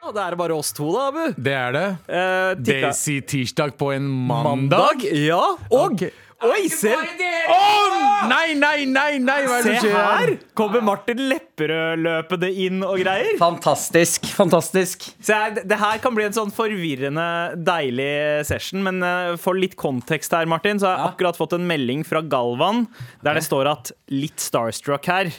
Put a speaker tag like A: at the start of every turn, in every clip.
A: Ja, det er bare oss to, da, Abu.
B: Det er det.
A: Eh, tikka-
B: Daisy tirsdag på en
A: Mandag?
B: mandag?
A: Ja. Og Oi, se!
B: Å, nei, nei, nei! nei hva er
A: Se
B: det som
A: her!
B: skjer?
A: Kommer Martin Lepperød løpende inn og greier.
C: Fantastisk. Fantastisk.
A: Se her, det- det her kan bli en sånn forvirrende, deilig session, men eh, for litt kontekst her, Martin, så har jeg akkurat fått en melding fra Galvan der det står at 'litt starstruck her',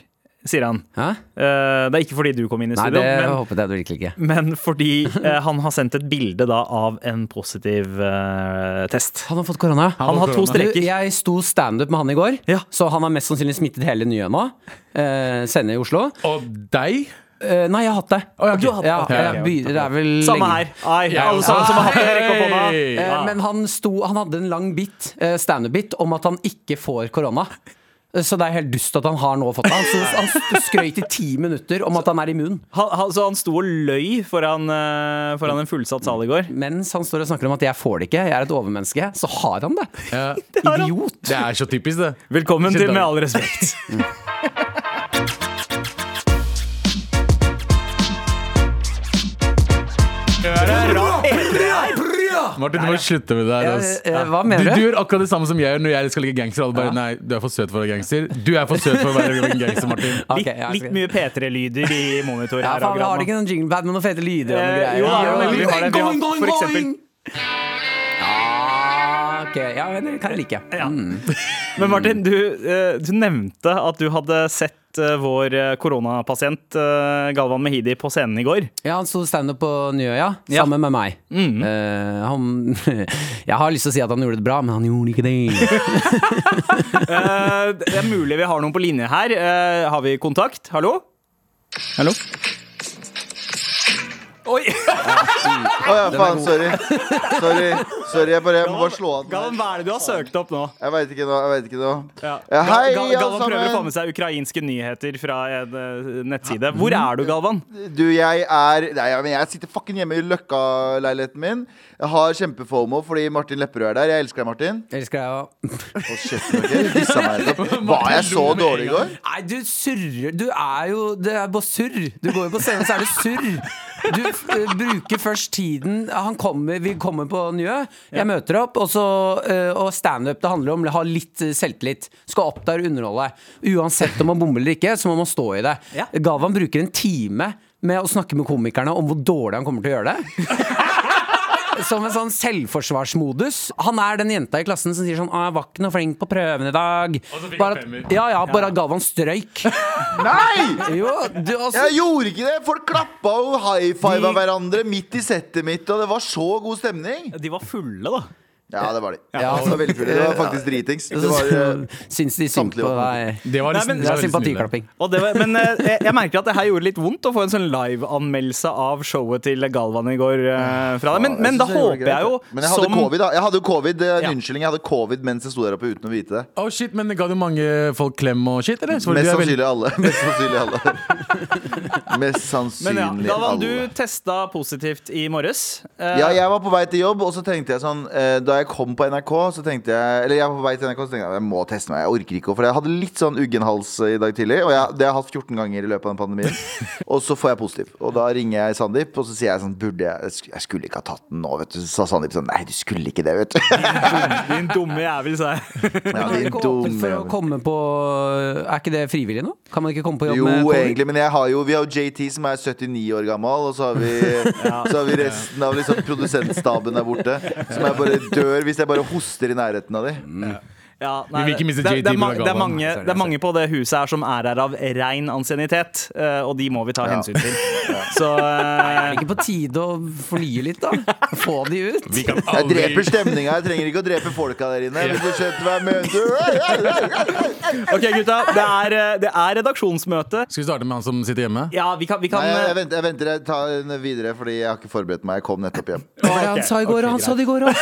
A: sier han.
C: Hæ?
A: Eh, det er ikke fordi du kom inn i
C: Nei,
A: studio, men,
C: det håpet jeg du virkelig ikke.
A: men fordi eh, han har sendt et bilde da av en positiv eh, test.
C: Han har fått korona.
A: Han har to
B: korona.
C: Du,
A: streker.
C: jeg sto standup med han i går,
A: Ja.
C: så han har mest sannsynlig smittet hele nye nå. Eh, Sende i Oslo.
B: Og deg?
C: Eh, nei, jeg har hatt det.
B: ja, ok.
C: Du har hatt det.
B: Ja,
C: Ja,
B: ok,
C: jeg begynner- det er vel
A: Samme
C: lenge-
A: her. Ai,
B: Ja.
A: alle sammen som har hatt det, rekk opp hånda.
B: Hei.
C: Eh,
A: Ja.
C: Men han, sto, han hadde en lang bit, eh, standup-bit, om at han ikke får korona. Eh, Så det er helt dust at han har nå fått det. Han, så, han skrøyt i ti minutter om at han er immun,
A: Han, han, så han sto og løy foran, eh, foran en fullsatt sal i går.
C: mens han står og snakker om at jeg får det ikke, jeg er et overmenneske. Så har han det!
B: Ja.
A: han.
C: Idiot!
B: Det er så typisk, det.
A: Velkommen til
B: Kjempe-
A: Med all respekt.
C: Mm.
B: Martin, du må slutte med det her.
C: Ja,
B: ass.
C: eh, hva
B: Du,
C: mener
B: du
C: du?
B: gjør akkurat det samme som jeg gjør når jeg skal ligge gangster. Alle bare, nei, du er for søt for å være gangster. Du er for søt for å være en gangster, Martin.
C: Ok,
A: Litt,
C: ja, jeg
A: litt
C: skal-
A: mye P3-lyder i monitor
C: ja,
A: her.
C: faen, vi
A: Agran,
C: Har de ikke noen jinglebad med noen fete lyder og noen
A: Eh,
C: greier?
A: jo,
C: Ja,
A: jo,
C: ja,
A: men vi
C: ja.
A: har det, vi har- for eksempel-
C: Ja, ok. Ja, men det kan jeg like.
A: Ja.
C: Mm.
A: Men Martin, du, eh, du nevnte at du hadde sett eh, vår eh, koronapasient eh, Galvan Mehidi på scenen i går.
C: Ja, han sto standup på Nyøya,
A: Ja. Mm.
C: sammen med meg. Eh, han, jeg har lyst til å si at han gjorde det bra, men han gjorde ikke det.
A: Eh, Det er mulig vi har noen på linje her. Eh, Har vi kontakt? Hallo? Hallo? Oi!
D: Å ja, faen, sorry. Sorry, sorry, jeg, bare, jeg må bare slå av den.
A: Galvan, hva er det du har søkt opp nå?
D: Jeg veit ikke nå. jeg vet ikke nå
A: Ja.
D: Eh,
A: Gal-
D: Hei,
A: Gal-
D: alle
A: Galvan prøver å få
D: sammen.
A: med seg ukrainske nyheter fra en eh, nettside. Hvor er du, Galvan?
D: Du, jeg er Nei, ja, men jeg sitter fucking hjemme i Løkka-leiligheten min. Jeg har kjempefomo fordi Martin Lepperød er der. Jeg elsker deg, Martin.
C: Jeg elsker deg òg.
D: Hold kjeften, ok? Du dissa meg nettopp. Var jeg så dårlig i går?
C: Nei, du surrer. Du er jo Det er bare surr. Du går jo på scenen, så er det surr. Du f eh, bruker først tiden Han kommer, Vi kommer på Njø. Jeg møter opp, og, så, eh, og standup det handler om å ha litt eh, selvtillit. Skal opp der og underholde. Uansett om man bommer eller ikke, så må man stå i det.
A: Ja.
C: Galvan bruker en time med å snakke med komikerne om hvor dårlig han kommer til å gjøre det. Som en sånn selvforsvarsmodus. Han er den jenta i klassen som sier sånn «Å, 'Jeg var ikke noe flink på prøven i dag'.
B: så fikk
C: Bare
B: han femmer.
C: at, ja, ja, bare at Galvan strøyk.
D: Nei!
C: Jo, du også
D: Jeg gjorde ikke det! Folk klappa og high fiva hverandre midt i settet mitt, og det var så god stemning.
A: De var fulle, da.
D: Ja, det var de.
C: Ja.
D: Det var veldig kult. Det var faktisk dritings. Det var eh,
C: Syns de synd
D: samtlige
C: på
D: var
C: deg.
B: Det var,
A: Nei,
B: litt-
A: men-
B: det var
C: Det er
B: veldig
C: sympatiklapping.
A: Og det var, men eh, jeg, jeg merker at det her gjorde litt vondt å få en sånn liveanmeldelse av showet til Galvan i går. eh, fra deg. Men, men da
D: Jeg synes det gjorde
A: håper jeg jo
D: greit, Men jeg hadde covid, da. Jeg hadde jo covid, det er en
A: Ja.
D: unnskyldning. Jeg hadde covid mens jeg sto der oppe uten å vite det.
B: snille. Å, shit, men Ga du mange folk klem og shit, eller? Så du
D: Mest
B: er veldig-
D: sannsynlig alle. Mest sannsynlig alle. Mest sannsynlig
A: men ja, Galvan,
D: alle.
A: du testa positivt i morges. Eh,
D: Ja, jeg var på vei til jobb, og så tenkte jeg sånn eh, Da jeg kom på NRK, så tenkte jeg Eller jeg var på vei til NRK, så tenkte jeg jeg må teste meg. Jeg orker ikke, for jeg hadde litt sånn uggen hals eh, i dag tidlig. Og jeg, det har jeg hatt 14 ganger i løpet av den pandemien. Og så får jeg positiv. Og da ringer jeg Sandeep, og så sier jeg sånn Burde jeg sk- Jeg skulle ikke ha tatt den nå, vet du. Så sa Sandeep sånn Nei, du skulle ikke det, vet du.
A: Din dumme jævel, sa jeg.
C: Kan
D: Ja,
C: du
D: din
C: ikke åpne for å
D: dumme-
C: komme på Er ikke det frivillig nå? Kan man ikke komme på jobb
D: Jo,
C: med covid?
D: egentlig, men jeg har jo, vi har jo JT som er 79 år gammel, og så har vi, så har vi resten av liksom produsentstaben der borte. Som jeg bare dør hvis jeg bare hoster i nærheten av dem.
A: Ja,
B: Vi vil ikke miste
A: det, det, er
B: JT
A: ma-
B: på
A: det, er
B: Galvan.
A: mange,
C: Sorry,
A: det er mange på det huset her som er her av rein ansiennitet, eh, og de må vi ta
D: Ja.
A: hensyn til. Så eh,
C: Er det ikke på tide å fornye litt, da? Få de ut?
B: Vi kan
D: Jeg
B: aldri-
D: dreper stemninga. Jeg trenger ikke å drepe folka der inne. Hvis du skjønner hva jeg mener.
A: OK, gutta. Det er, eh, det er redaksjonsmøte.
B: Skal vi starte med han som sitter hjemme?
A: Ja, vi kan, vi kan
D: Nei, jeg
A: eh,
D: venter, jeg venter. Jeg tar den videre, fordi jeg har ikke forberedt meg. Jeg kom nettopp hjem.
C: Det var det han sa i går, og han sa det i går òg.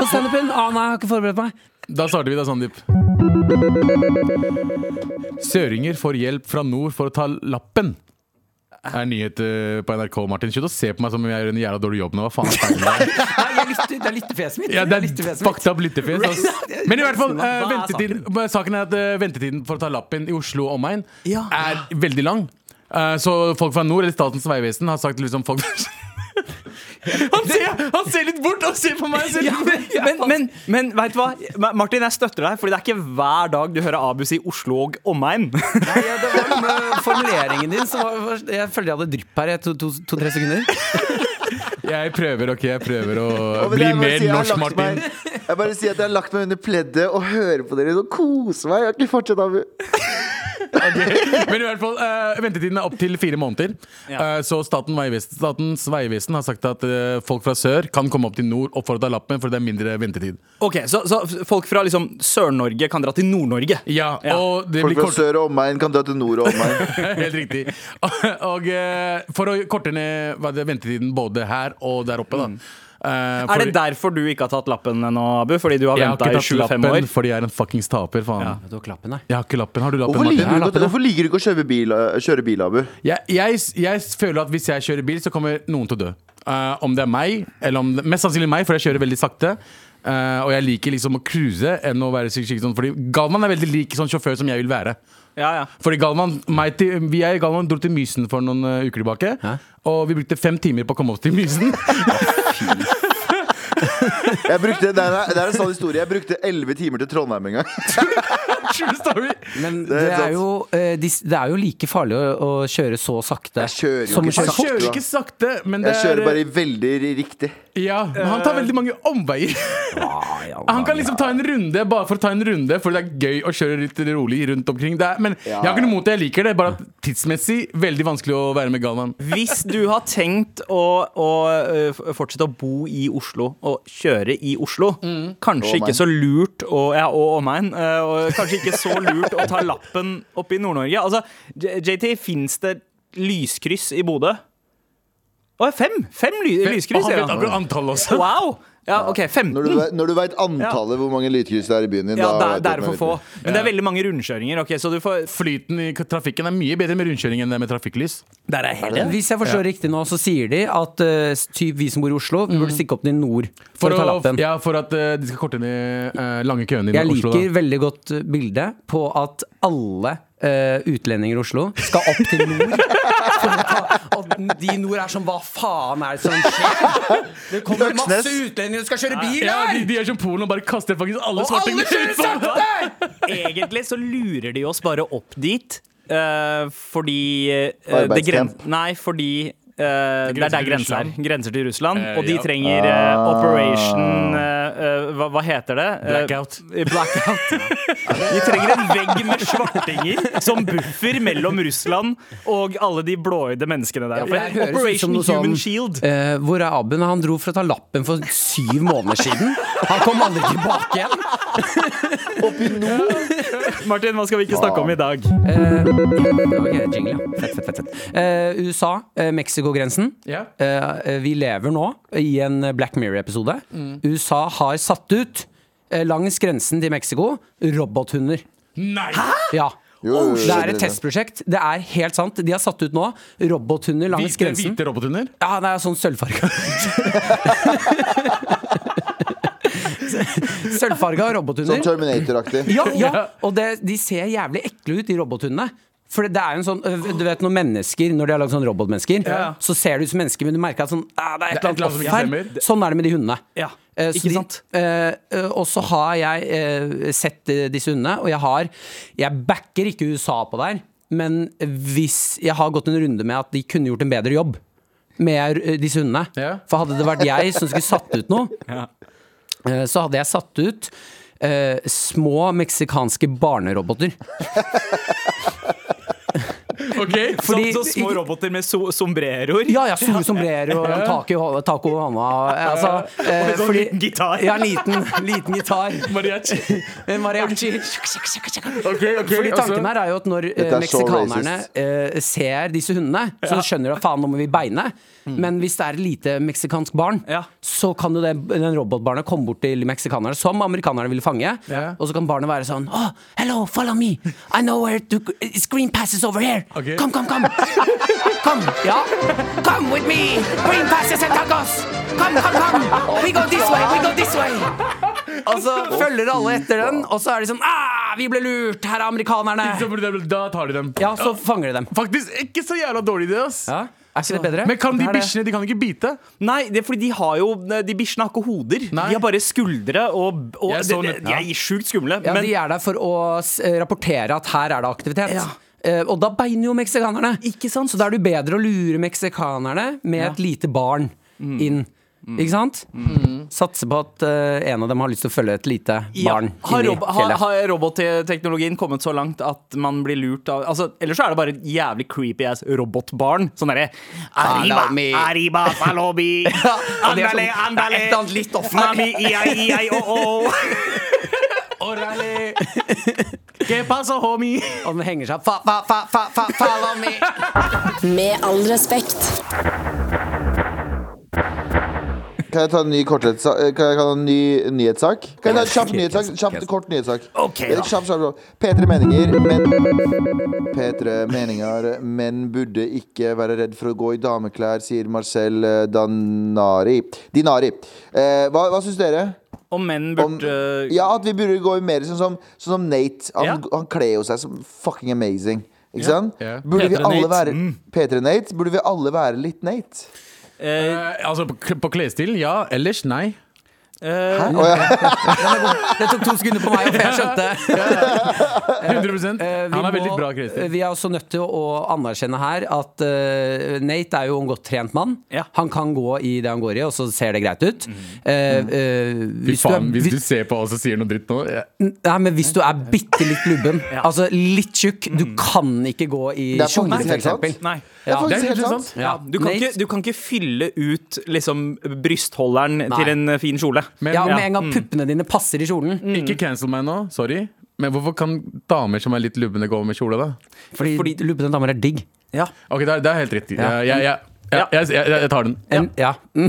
C: På standupen. Ah, nei, jeg har ikke forberedt meg.
B: Da starter vi da, Sandeep. Søringer får hjelp fra nord for å ta lappen. er nyhet eh, på NRK, Martin. Slutt å se på meg som om jeg gjør en jævla dårlig jobb nå. Hva faen er feilen med deg?
C: Nei, jeg lytter, det er lyttefjeset mitt.
B: Ja, det er
C: lyttefjeset mitt.
B: fucked up lyttefjes. ass. Men i hvert fall, eh,
A: Hva er
B: ventetiden, saken er at eh, ventetiden for å ta lappen i Oslo og omegn
C: Ja.
B: er veldig lang. Eh, så folk fra nord eller Statens vegvesen har sagt liksom folk han, ser, han ser litt bort og ser på meg! og Ser
C: Ja, men- ja.
A: Men, men, men vet du hva? Ma- Martin, jeg støtter deg, Fordi det er ikke hver dag du hører Abu si Oslo og omegn.
C: Nei, ja, det var noe med formuleringen din som var- var Jeg følte jeg hadde drypp her i to- to- to-tre sekunder.
B: Jeg prøver ok, jeg prøver å
D: Og men
B: bli
D: jeg bare
B: mer
D: sier, jeg har
B: norsk,
D: lagt
B: Martin.
D: Meg, jeg bare sier at jeg har lagt meg under pleddet og hører på dere og koser meg. Jeg har ikke fortsatt av
B: Men i hvert fall, eh, ventetiden er opp til fire måneder. Eh, så Staten Veivesen, Statens vegvesen har sagt at eh, folk fra sør kan komme opp til nord og få ta lappen, for det er mindre ventetid.
A: Ok, Så, så folk fra liksom Sør-Norge kan dra til Nord-Norge?
B: Ja, og det
D: Folk
B: blir
D: fra
B: kort...
D: sør og omegn kan dra til nord og omegn.
B: Helt riktig. Og, og eh, for å korte ned hva det er, ventetiden både her og der oppe, da. Eh,
A: Mm. Er
B: fordi-
A: det derfor du ikke har tatt lappen ennå, Abu? Fordi du har
B: Jeg har
A: venta i
B: ikke tatt
A: 25
B: lappen
A: år?
B: fordi jeg er en fuckings taper, faen.
C: Du har klappen her.
B: Jeg har ikke lappen. Har du lappen,
D: Hvorfor liker,
B: Martin?
D: du ikke, å- hvorfor liker du ikke å kjøre bil, eh, kjøre bil Abu?
B: Jeg, jeg, jeg føler at hvis jeg kjører bil, så kommer noen til å dø. Eh, om det er meg, eller om det, mest sannsynlig meg, for jeg kjører veldig sakte. Eh, og jeg liker liksom å cruise enn å være skikkelig skikkelig sånn. Fordi Galvan er veldig lik sånn sjåfør som jeg vil være.
A: Ja, ja.
B: Fordi Galvan, meg til, Vi jeg og Galvan dro til Mysen for noen eh, uker tilbake.
C: Hæ?
B: Og vi brukte fem timer på å komme oss til Mysen.
D: Jeg brukte, det, er, det er en sann historie. Jeg brukte elleve timer til Trondheim en gang.
B: True story.
C: Men det
D: er helt
C: er
D: sant.
C: jo, eh, de, det er jo like farlig å, å kjøre så sakte
D: Jeg kjører jo
C: som å
B: Han
D: ikke
C: kjøre
D: sakte.
C: fort.
B: kjører ikke sakte, men det
D: Jeg
B: er
D: kjører bare veldig riktig.
B: Ja, men han tar veldig mange omveier.
C: Eh. Ja, ja,
B: Han kan
C: ja.
B: liksom ta en runde bare for å ta en runde, for det er gøy å kjøre litt rolig rundt omkring. Det er, men jeg har ikke noe mot det, jeg liker det. Bare at tidsmessig veldig vanskelig å være med Galvan.
A: Hvis du har tenkt å, å ø, f- fortsette å bo i Oslo og kjøre i Oslo, kanskje
D: Og
A: ikke
D: omegn.
A: så lurt å, ja, og omegn, ø, og kanskje ikke så lurt å ta lappen opp i Nord-Norge Altså, J- JT, fins det lyskryss i Bodø? Å, fem! Fem ly
B: Og
A: lyskryss,
B: han vet
A: ja.
B: akkurat antallet også.
A: Wow! Ja, OK, 15.
D: Når du, ve- når du veit antallet, hvor mange lydkryss det er i byen din
A: Ja, det
D: da
A: er, det er for
D: vet du hvor
A: få.
D: mange lydkryss.
A: Men det er veldig mange rundkjøringer. Ok, så du får
B: Flyten i trafikken er mye bedre med rundkjøring enn det er med trafikklys.
A: Der er jeg helt enig.
C: Hvis jeg forstår riktig nå, så sier de at eh, typ vi som bor i Oslo, vi
D: Mm.
C: burde stikke opp til nord for,
B: For,
C: å ta
B: å,
C: lappen.
B: ja, for at eh, de skal korte ned eh, lange køene i
C: Jeg
B: Oslo.
C: liker
B: Da.
C: veldig godt eh, bildet på at alle eh, utlendinger i Oslo skal opp til nord. For å ta, og de i nord er sånn Hva faen er det som skjer? Det kommer
D: Øksnes.
C: masse utlendinger som skal kjøre bil
B: Ja,
C: her!
B: de, de er som Polen og bare kaster faktisk alle
C: Og alle
B: svartingene
C: kjører
B: ut sånn.
C: sakte!
A: Egentlig så lurer de oss bare opp dit eh, fordi eh, det gren
D: Arbeidskamp.
A: Nei, fordi eh, det er
B: grenser
A: der
B: til
A: grenser er.
B: Russland.
A: Grenser til Russland.
B: Eh,
A: og de
B: ja.
A: trenger eh,
C: Ah.
A: operation eh, eh, hva, hva heter det? Eh,
B: Blackout.
A: blackout. De trenger en vegg med svartinger som buffer mellom Russland og alle de blåøyde menneskene der oppe.
C: Det høres ut som
A: operation
C: noe sånn,
A: Human Shield.
C: eh, hvor er Abu? Nei, Han dro for å ta lappen for syv måneder siden. Han kom aldri tilbake igjen.
A: Martin, hva skal vi ikke snakke om i dag?
C: Eh, ok, jingle, ja. Fett, fett, fett, fett. Eh, USA, uh, Mexico-grensen.
B: Ja.
C: Eh, eh, vi lever nå i en Black Mirror-episode.
B: Mm.
C: USA har satt ut eh, langs grensen til Mexico robothunder.
B: Nei!
C: Ja.
D: Jo, jo, jo,
C: det er
D: det-
C: et testprosjekt. Det er helt sant. De har satt ut nå robothunder langs
B: Hvite,
C: grensen.
B: hvite robothunder?
C: Ja, det er sånn sølvfarga. sølvfarga robothunder.
D: Sånn Terminator-aktig.
C: Ja, ja. og det, de ser jævlig ekle ut, de robothundene. For det er jo en sånn, øh, du vet Når mennesker Når de har lagd sånn robotmennesker,
A: Ja.
C: så ser det ut som mennesker, men du merker at sånn, «Ah, det er et
B: Det er et
C: eller annet
B: eller
C: off
B: annet som ikke
C: her. Sånn er det med de hundene.
A: Ja,
C: Eh, så
A: ikke
C: de-
A: sant?
C: eh, eh, og så har jeg eh, sett eh, disse hundene, og jeg har Jeg backer ikke USA på der, men hvis jeg har gått en runde med at de kunne gjort en bedre jobb med eh, disse hundene.
B: Ja.
C: For hadde det vært jeg som skulle satt ut noe, eh, så hadde jeg satt ut eh, små meksikanske barneroboter.
B: Ok, sånn
A: Så-
C: Fordi-
A: så, små roboter med so sombreroer?
C: Ja, ja, store sombrero, tak i hå- tak over hånda. Altså, eh,
A: Og en sånn
C: fordi-
A: liten gitar.
C: Ja, en liten, liten gitar.
B: Mariachi.
C: En mariachi.
B: Ok, ok,
C: Fordi
B: altså.
C: tanken her er jo at når eh,
D: Dette er så
C: meksikanerne eh, ser disse hundene, så skjønner de at faen, nå må vi beine.
B: Mm.
C: Men hvis det er et lite meksikansk barn,
A: Ja.
C: så kan jo det, den robotbarnet komme bort til meksikanerne, som amerikanerne ville fange.
B: Ja.
C: Og så kan barnet være sånn oh, Hello, follow me. I know where to It's green passes over here.
B: Ok, Ok.
C: Kom, kom, kom! Kom, ja. Come with me! Bring passes and tacos! Come, come, come! We go this way, we go this way! Og så følger alle etter den, og så er de sånn ah, Vi ble lurt! Her er
B: Så
C: amerikanerne!
B: burde de- Da tar de dem.
C: Ja, så fanger de dem.
B: Faktisk ikke så jævla dårlig idé, ass.
C: Ja, Er ikke det bedre?
B: Men kan de
C: Det er det.
B: bikkjene De kan ikke bite?
A: Nei, det er fordi de har jo eh, De bikkjene har ikke hoder.
B: Nei.
A: De har bare skuldre og, og
B: Jeg så
A: de,
B: nett-
A: de er sjukt skumle.
C: Ja,
A: men
C: De er der for å s- eh, rapportere at her er det aktivitet. Eh, og da beiner jo meksikanerne.
A: Ikke sant?
C: Så da er det jo bedre å lure meksikanerne med et lite barn inn. Ikke sant? Satse på at eh, en av dem har lyst til å følge et lite
A: ja,
C: barn
A: har,
C: inn i
A: rob har,
C: fjellet.
A: har robotteknologien kommet så langt at man blir lurt av altså, Ellers så er det bare et jævlig creepy ass robotbarn. Sånn derre Arriba,
C: Salami.
A: arriba, salobi.
C: og det er
A: Andale,
C: sånn-
A: andale.
C: det er et eller annet litt off.
A: Mami, iai, iai, o, o.
B: Orale.
A: Que pasa, homie?
C: Og den henger seg fa, fa, fa, fa, fa, follow me.
E: Med all respekt.
D: Kan jeg ta en ny, kortretsa- eh, kan jeg ta en ny nyhetssak? Kan jeg ta en kjapp nyhetssak? Kjapt, kort nyhetssak.
A: Ok, da.
D: Eh, Kjapp, kjapp, kjapp. P3 Meninger, men P3 Meninger, menn burde ikke være redd for å gå i dameklær, sier Marcel eh, Danari. Dinari. Eh, hva hva syns dere?
A: Om menn
D: Om,
A: burde
D: ja, at vi burde gå i mer sånn som, sånn som Nate. Han,
A: eh, Ja.
D: han kler jo seg som fucking amazing. Ikke sant?
B: ja.
D: Burde vi
A: P3
D: alle
A: Nate. Mm.
D: være P3 Nate? Burde vi alle være litt Nate?
A: eh,
B: Eh, altså, på, på klesstilen, ja. Ellers, nei.
A: eh,
D: Å ja.
C: Det tok to sekunder på meg, for jeg skjønte.
B: 100
C: Eh, vi
B: Han er
C: må-
B: veldig bra klesstil.
C: Vi er også nødt til å anerkjenne her at eh, Nate er jo en godt trent mann.
A: Ja.
C: Han kan gå i det han går i, og så ser det greit ut. Eh, eh,
B: Mhm. Fy
C: hvis du er-
B: faen, hvis du ser på oss og sier noe dritt nå eh, jeg-
C: Nei, men hvis du er bitte litt lubben,
A: Ja.
C: altså litt tjukk, du kan ikke gå i
D: Det er
C: kjole, for
D: faktisk helt sant.
C: eksempel.
A: nei.
D: Det er
B: Det er
D: faktisk helt
B: helt
D: sant.
B: sant.
A: Ja, du, kan
C: Nate-
A: ikke, du kan ikke fylle ut liksom, brystholderen
C: Nei.
A: til en eh, fin kjole.
B: Men Mm.
C: Ja,
A: Ja.
C: med en gang puppene dine passer i kjolen.
B: ikke cancel meg nå, sorry. Men hvorfor kan damer som er litt lubne, gå med kjole, da?
C: Fordi, lubne damer er digg.
A: Ja.
B: Ok, det er, det er helt riktig.
C: Ja.
B: Jeg, jeg, jeg,
A: Ja.
B: jeg, jeg, jeg, jeg tar den.
C: En, ja. Mm.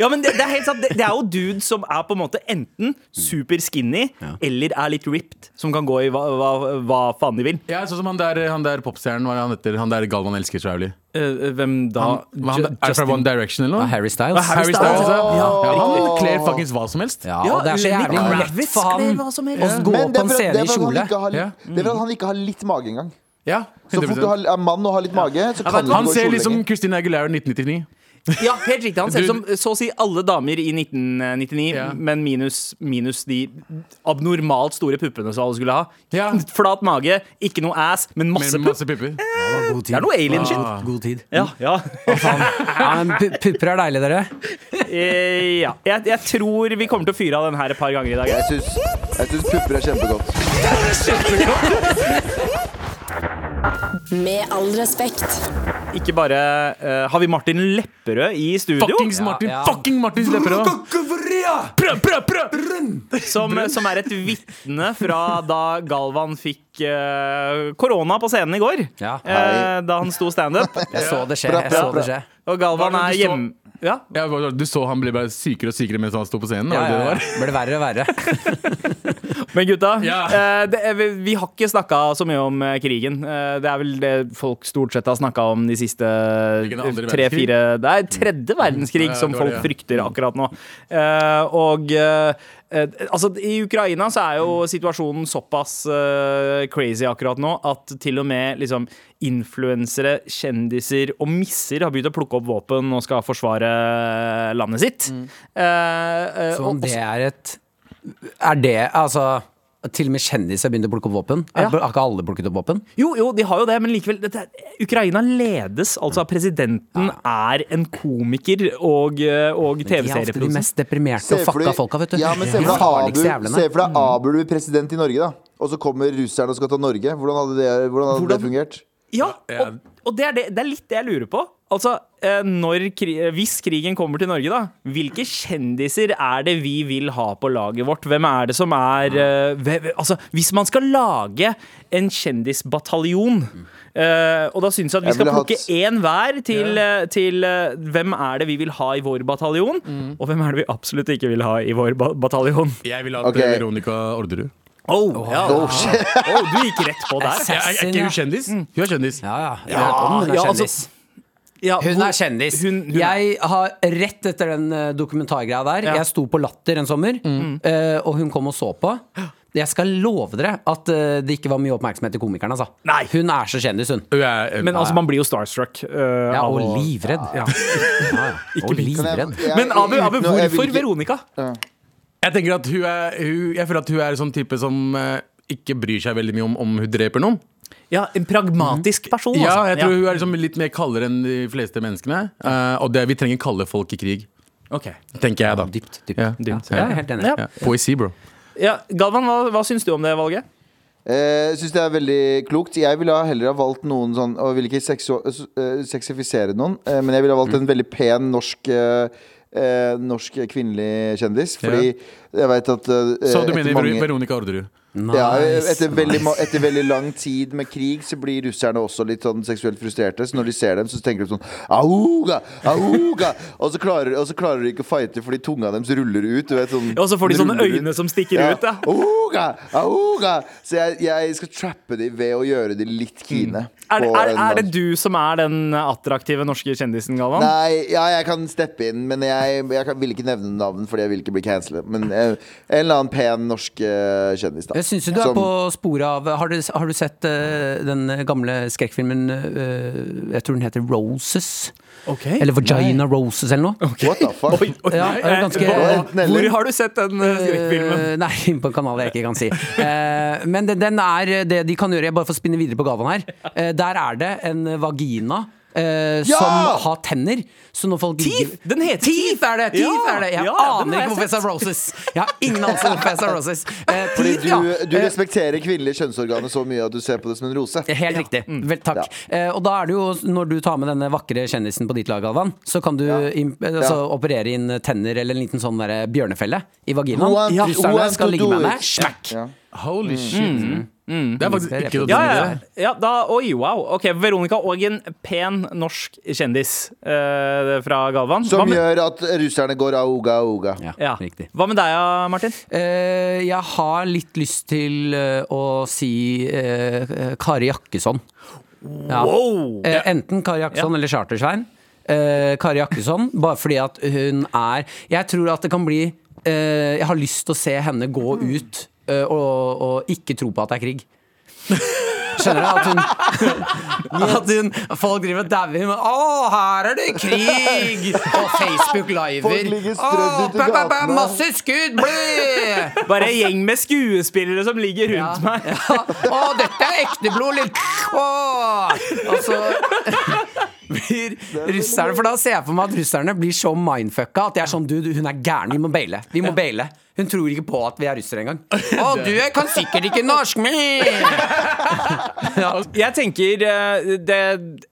A: Ja, men det, det er helt sant. Det, det er jo dudes som er på en måte enten super skinny eller er litt ripped, som kan gå i hva, hva, hva faen de vil.
B: Jeg er sånn som han der, han der popstjernen, hva er det han heter? Han der Galvan elsker så jævlig.
A: Eh, hvem da?
B: Hva er Han, er det fra One Direction eller noe?
C: Ah, Harry Styles.
B: Harry Styles, ikke sant?
D: Ja.
B: ja, Han kler fuckings hva som helst.
C: Ja, og det er så
A: Lenny
C: jævlig lett
A: Kravitz
C: for
A: kler
C: han
A: hva som helst.
C: å gå
D: Men
C: på
D: det er
C: en
D: for at- det
C: scene
D: er
C: i
D: for at han
C: kjole.
D: ikke har
B: Ja.
D: litt- det er for at han ikke har litt mage engang.
B: Ja,
D: Så fort du
B: 100%.
D: har, er mann og har litt mage, så kan du
B: Han
D: ikke gå i
B: ser
D: kjole
B: liksom
D: lenger.
B: Christina Aguilera 1999.
A: Ja, helt riktig. Han ser ut
B: Du-
A: som så å si alle damer i 1999,
B: Ja.
A: men minus, minus de abnormalt store puppene som alle skulle ha.
B: Ja.
A: Flat mage, ikke noe ass, men masse
B: Med
A: pupp.
B: masse pupper.
A: Det er noe alien-shit.
B: Ah.
C: God tid.
A: Ja, ja.
C: Ja, men pu- pupper er deilig, dere.
A: Eh, ja. Jeg, jeg tror vi kommer til å fyre av den her et par ganger i dag.
D: Jeg syns, jeg syns pupper er kjempegodt.
E: Med all respekt.
A: Ikke bare eh, har vi Martin Lepperød i studio.
B: Fuckings Martin
C: ja.
B: Fucking Martin Lepperød! Prøv, prøv, prøv!
A: Som, som er et vitne fra da Galvan fikk eh, korona på scenen i går.
C: Ja.
A: Eh, da han sto standup.
C: Jeg så det skje.
D: Bra,
C: Jeg
D: bra,
C: så det
D: bra.
C: skje.
A: Og Galvan
B: Hva
A: er
B: er det du så?
A: hjemme... Ja.
B: Ja, hva- du så han ble bare sykere og sykere mens han sto på scenen?
C: Ja,
B: var det
C: ja,
B: det det
C: ja.
B: var?
C: Ble det verre og verre.
A: Men gutta,
B: Ja.
A: eh, det er, vi, vi har ikke snakka så mye om eh, krigen. Eh, det er vel det folk stort sett har snakka om de siste eh,
B: Hvilken andre verdenskrig?
A: tre-fire Det er tredje verdenskrig
B: Ja,
A: som
B: det var
A: folk
B: det, ja.
A: frykter akkurat nå. Eh, og eh, eh, altså, i Ukraina så er jo situasjonen såpass eh, crazy akkurat nå at til og med liksom influensere, kjendiser og misser har begynt å plukke opp våpen og skal forsvare landet sitt. Eh, eh,
C: Så
A: og-
C: om det er et Er det altså Til og med kjendiser begynte å plukke opp våpen? Er-
A: Ja.
C: Har ikke alle plukket opp våpen?
A: Jo, jo, de har jo det, men likevel dette, er- Ukraina ledes altså av presidenten er en komiker og, eh, og
C: De er ofte de
A: TV-serieprodusent.
C: mest deprimerte
D: Se
C: og
D: for
C: fucka
D: deg-
C: folka, vet du.
D: Ja, men se
C: De
D: for deg Abu,
C: farligste Mm. jævlene.
D: se for deg Abu blir president i Norge, da. Og så kommer russerne og skal ta Norge. Hvordan hadde det, hvordan hadde
A: Hvordan-
D: det fungert?
A: Ja, og, og det, er det, det er litt det jeg lurer på. Altså, eh, når, kri- eh, Hvis krigen kommer til Norge, da, hvilke kjendiser er det vi vil ha på laget vårt? Hvem er det som er eh, hve- hve- Altså, Hvis man skal lage en kjendisbataljon eh, Og da syns jeg at vi
D: Jeg
A: skal
D: ville hatt-
A: plukke én hver til, eh, til eh, hvem er det vi vil ha i vår
C: Mm.
A: bataljon, og hvem er det vi absolutt ikke vil ha i vår ba bataljon.
B: Jeg ville hatt
D: Ok.
B: eh, Veronica Orderud.
A: Oh, ja.
D: Oh, shit.
A: oh, du gikk rett på der.
B: Er, er ikke hun kjendis?
D: Mm.
B: Hun er kjendis.
C: Ja, ja. Jeg vet om hun er
A: ja, altså,
C: kjendis.
A: Ja,
C: Hun
A: hvor-
C: er kjendis.
A: Hun, hun er.
C: jeg har rett etter den eh, dokumentargreia der. Jeg sto på Latter en sommer, eh, og hun kom og så på. Jeg skal love dere at eh, det ikke var mye oppmerksomhet til komikeren. Altså.
A: Nei.
C: Hun er så kjendis, hun.
B: Hun er, eh,
A: Men altså, man blir jo starstruck. eh,
C: Ja,
A: av
C: og
A: å-
C: livredd. Ja. Ja, Og
D: Kan jeg-
C: livredd.
D: jeg-
A: Men Abu, Abu
D: uten å- jeg vil
A: hvorfor
D: ikke-
A: Veronica?
B: Jeg tenker at hun er hun, Jeg føler at hun er en sånn type som eh, ikke bryr seg veldig mye om om hun dreper noen.
A: Ja, En pragmatisk person,
B: Ja,
A: altså.
B: jeg tror hun er liksom litt mer kaldere enn de fleste menneskene. eh, og det, vi trenger kalde folk i krig,
A: Ok.
B: tenker jeg da.
C: Dypt, dypt.
B: Ja.
C: Ja, jeg er helt enig.
A: Ja.
B: Ja. Poesi, bro.
A: Ja, Galvan, hva, hva syns du om det valget?
D: Eh, Jeg syns det er veldig klokt. Jeg ville ha heller ha valgt noen sånn Og jeg vil ikke seksu eh, sexifisere noen, eh, men jeg ville ha valgt
B: Mm.
D: en veldig pen norsk eh, eh, norsk kvinnelig kjendis. Fordi jeg veit at eh,
B: Så du
D: etter
B: mener
D: mange-
B: Veronica Orderud?
D: ja,
C: Nice,
D: etter, veldig, ma- etter veldig lang tid med krig så blir russerne også litt sånn seksuelt frustrerte. Så når de ser dem, så tenker de sånn Auga! Auga! Og så klarer, og så klarer de ikke å fighte fordi tunga deres ruller ut. Du vet, sånn,
A: Og så får de sånne
D: ruller ut.
A: øyne som stikker ut, ja.
D: Auga! Auga! Så jeg, jeg skal trappe dem ved å gjøre dem litt kine.
A: Mm. Er, det-
D: på
A: er,
D: en
A: er det
D: dans.
A: du som er den attraktive norske kjendisen, Galvan?
D: Nei, ja, jeg kan steppe inn, men jeg, jeg kan, vil ikke nevne navn fordi jeg vil ikke bli cancelet. Men eh, en eller annen pen norsk eh, kjendis, da.
C: Jeg syns jo du
D: Som-
C: er på sporet av Har du, har du sett eh, den gamle skrekkfilmen eh, Jeg tror den heter Roses?
A: Okay.
C: Eller Vagina Roses, eller noe?
D: What the fuck?
A: Oi, oi,
C: Ja,
A: eh,
C: det er ganske-
A: hvor-
D: Enten eller.
A: Hvor har du sett den eh, skrekkfilmen?
C: Eh, nei, på en kanal jeg ikke kan si. Eh, men den, den er det de kan gjøre. Jeg bare får spinne videre på Galvan her. Eh, der er det en vagina. eh,
D: Ja!
C: Som har tenner. Så når folk
A: Teeth! Den heter
C: Teeth er det! Teeth
A: Ja,
C: er det. Jeg
A: ja, den
C: aner
A: har jeg
C: ikke hvorfor jeg sa Roses. Jeg har ingen anelse om hvorfor jeg sa Roses. Eh,
D: Fordi
C: teeth,
D: du,
C: ja.
D: du
C: Eh,
D: respekterer kvinnelige kjønnsorganer så mye at du ser på det som en rose.
C: Helt riktig. Vel, takk. Eh, og da er det jo, når du tar med denne vakre kjendisen på ditt lag, Galvan, så kan du im- eh, altså, operere inn tenner eller en liten sånn derre bjørnefelle i vaginaen.
D: One, two,
C: Russerne
D: one,
C: skal
D: two,
C: ligge med
D: do
C: henne.
D: it.
C: Smack!
D: Ja.
B: Holy shit. Mm. Det er faktisk
C: Mm.
B: ikke noe
A: Ja,
B: dårlig
A: ja,
B: idé.
A: ja. ja da, oi, wow. Ok, Veronica og en pen norsk kjendis eh, fra Galvan.
D: Som
A: Hva med,
D: gjør at russerne går auga auga.
C: Ja,
A: ja.
C: riktig.
A: Hva med deg, ja, Martin?
C: Eh, jeg har litt lyst til eh, å si eh, eh, Kari Jakkesson. Ja.
A: Wow!
C: Eh, enten Kari Jakkesson eller Chartersvein. Eh, Kari Jakkesson, bare fordi at hun er Jeg tror at det kan bli eh, Jeg har lyst til å se henne gå ut eh, og, og ikke tro på at det er krig. Skjønner du? At hun, at hun Folk driver og dauer med 'Å, her er det krig!' Og Facebook
D: Folk
C: liver.
D: ligger strødd
C: «Å,
D: ut i
C: ba, ba, ba,
D: gatene.»
C: Masse skudd! Bli!
A: Bare en gjeng med skuespillere som ligger
C: Altså- Ja.
A: rundt meg.
C: Ja. Å, dette er ekte blod! Litt. Å! Og så blir russerne For da ser jeg for meg at russerne blir så mindfucka at jeg er sånn Du, du, hun er gæren. Vi må baile. Vi må baile. Hun tror ikke på at vi er russere engang. Å, du jeg kan sikkert ikke norsk, men
A: Altså, Jeg tenker eh, det,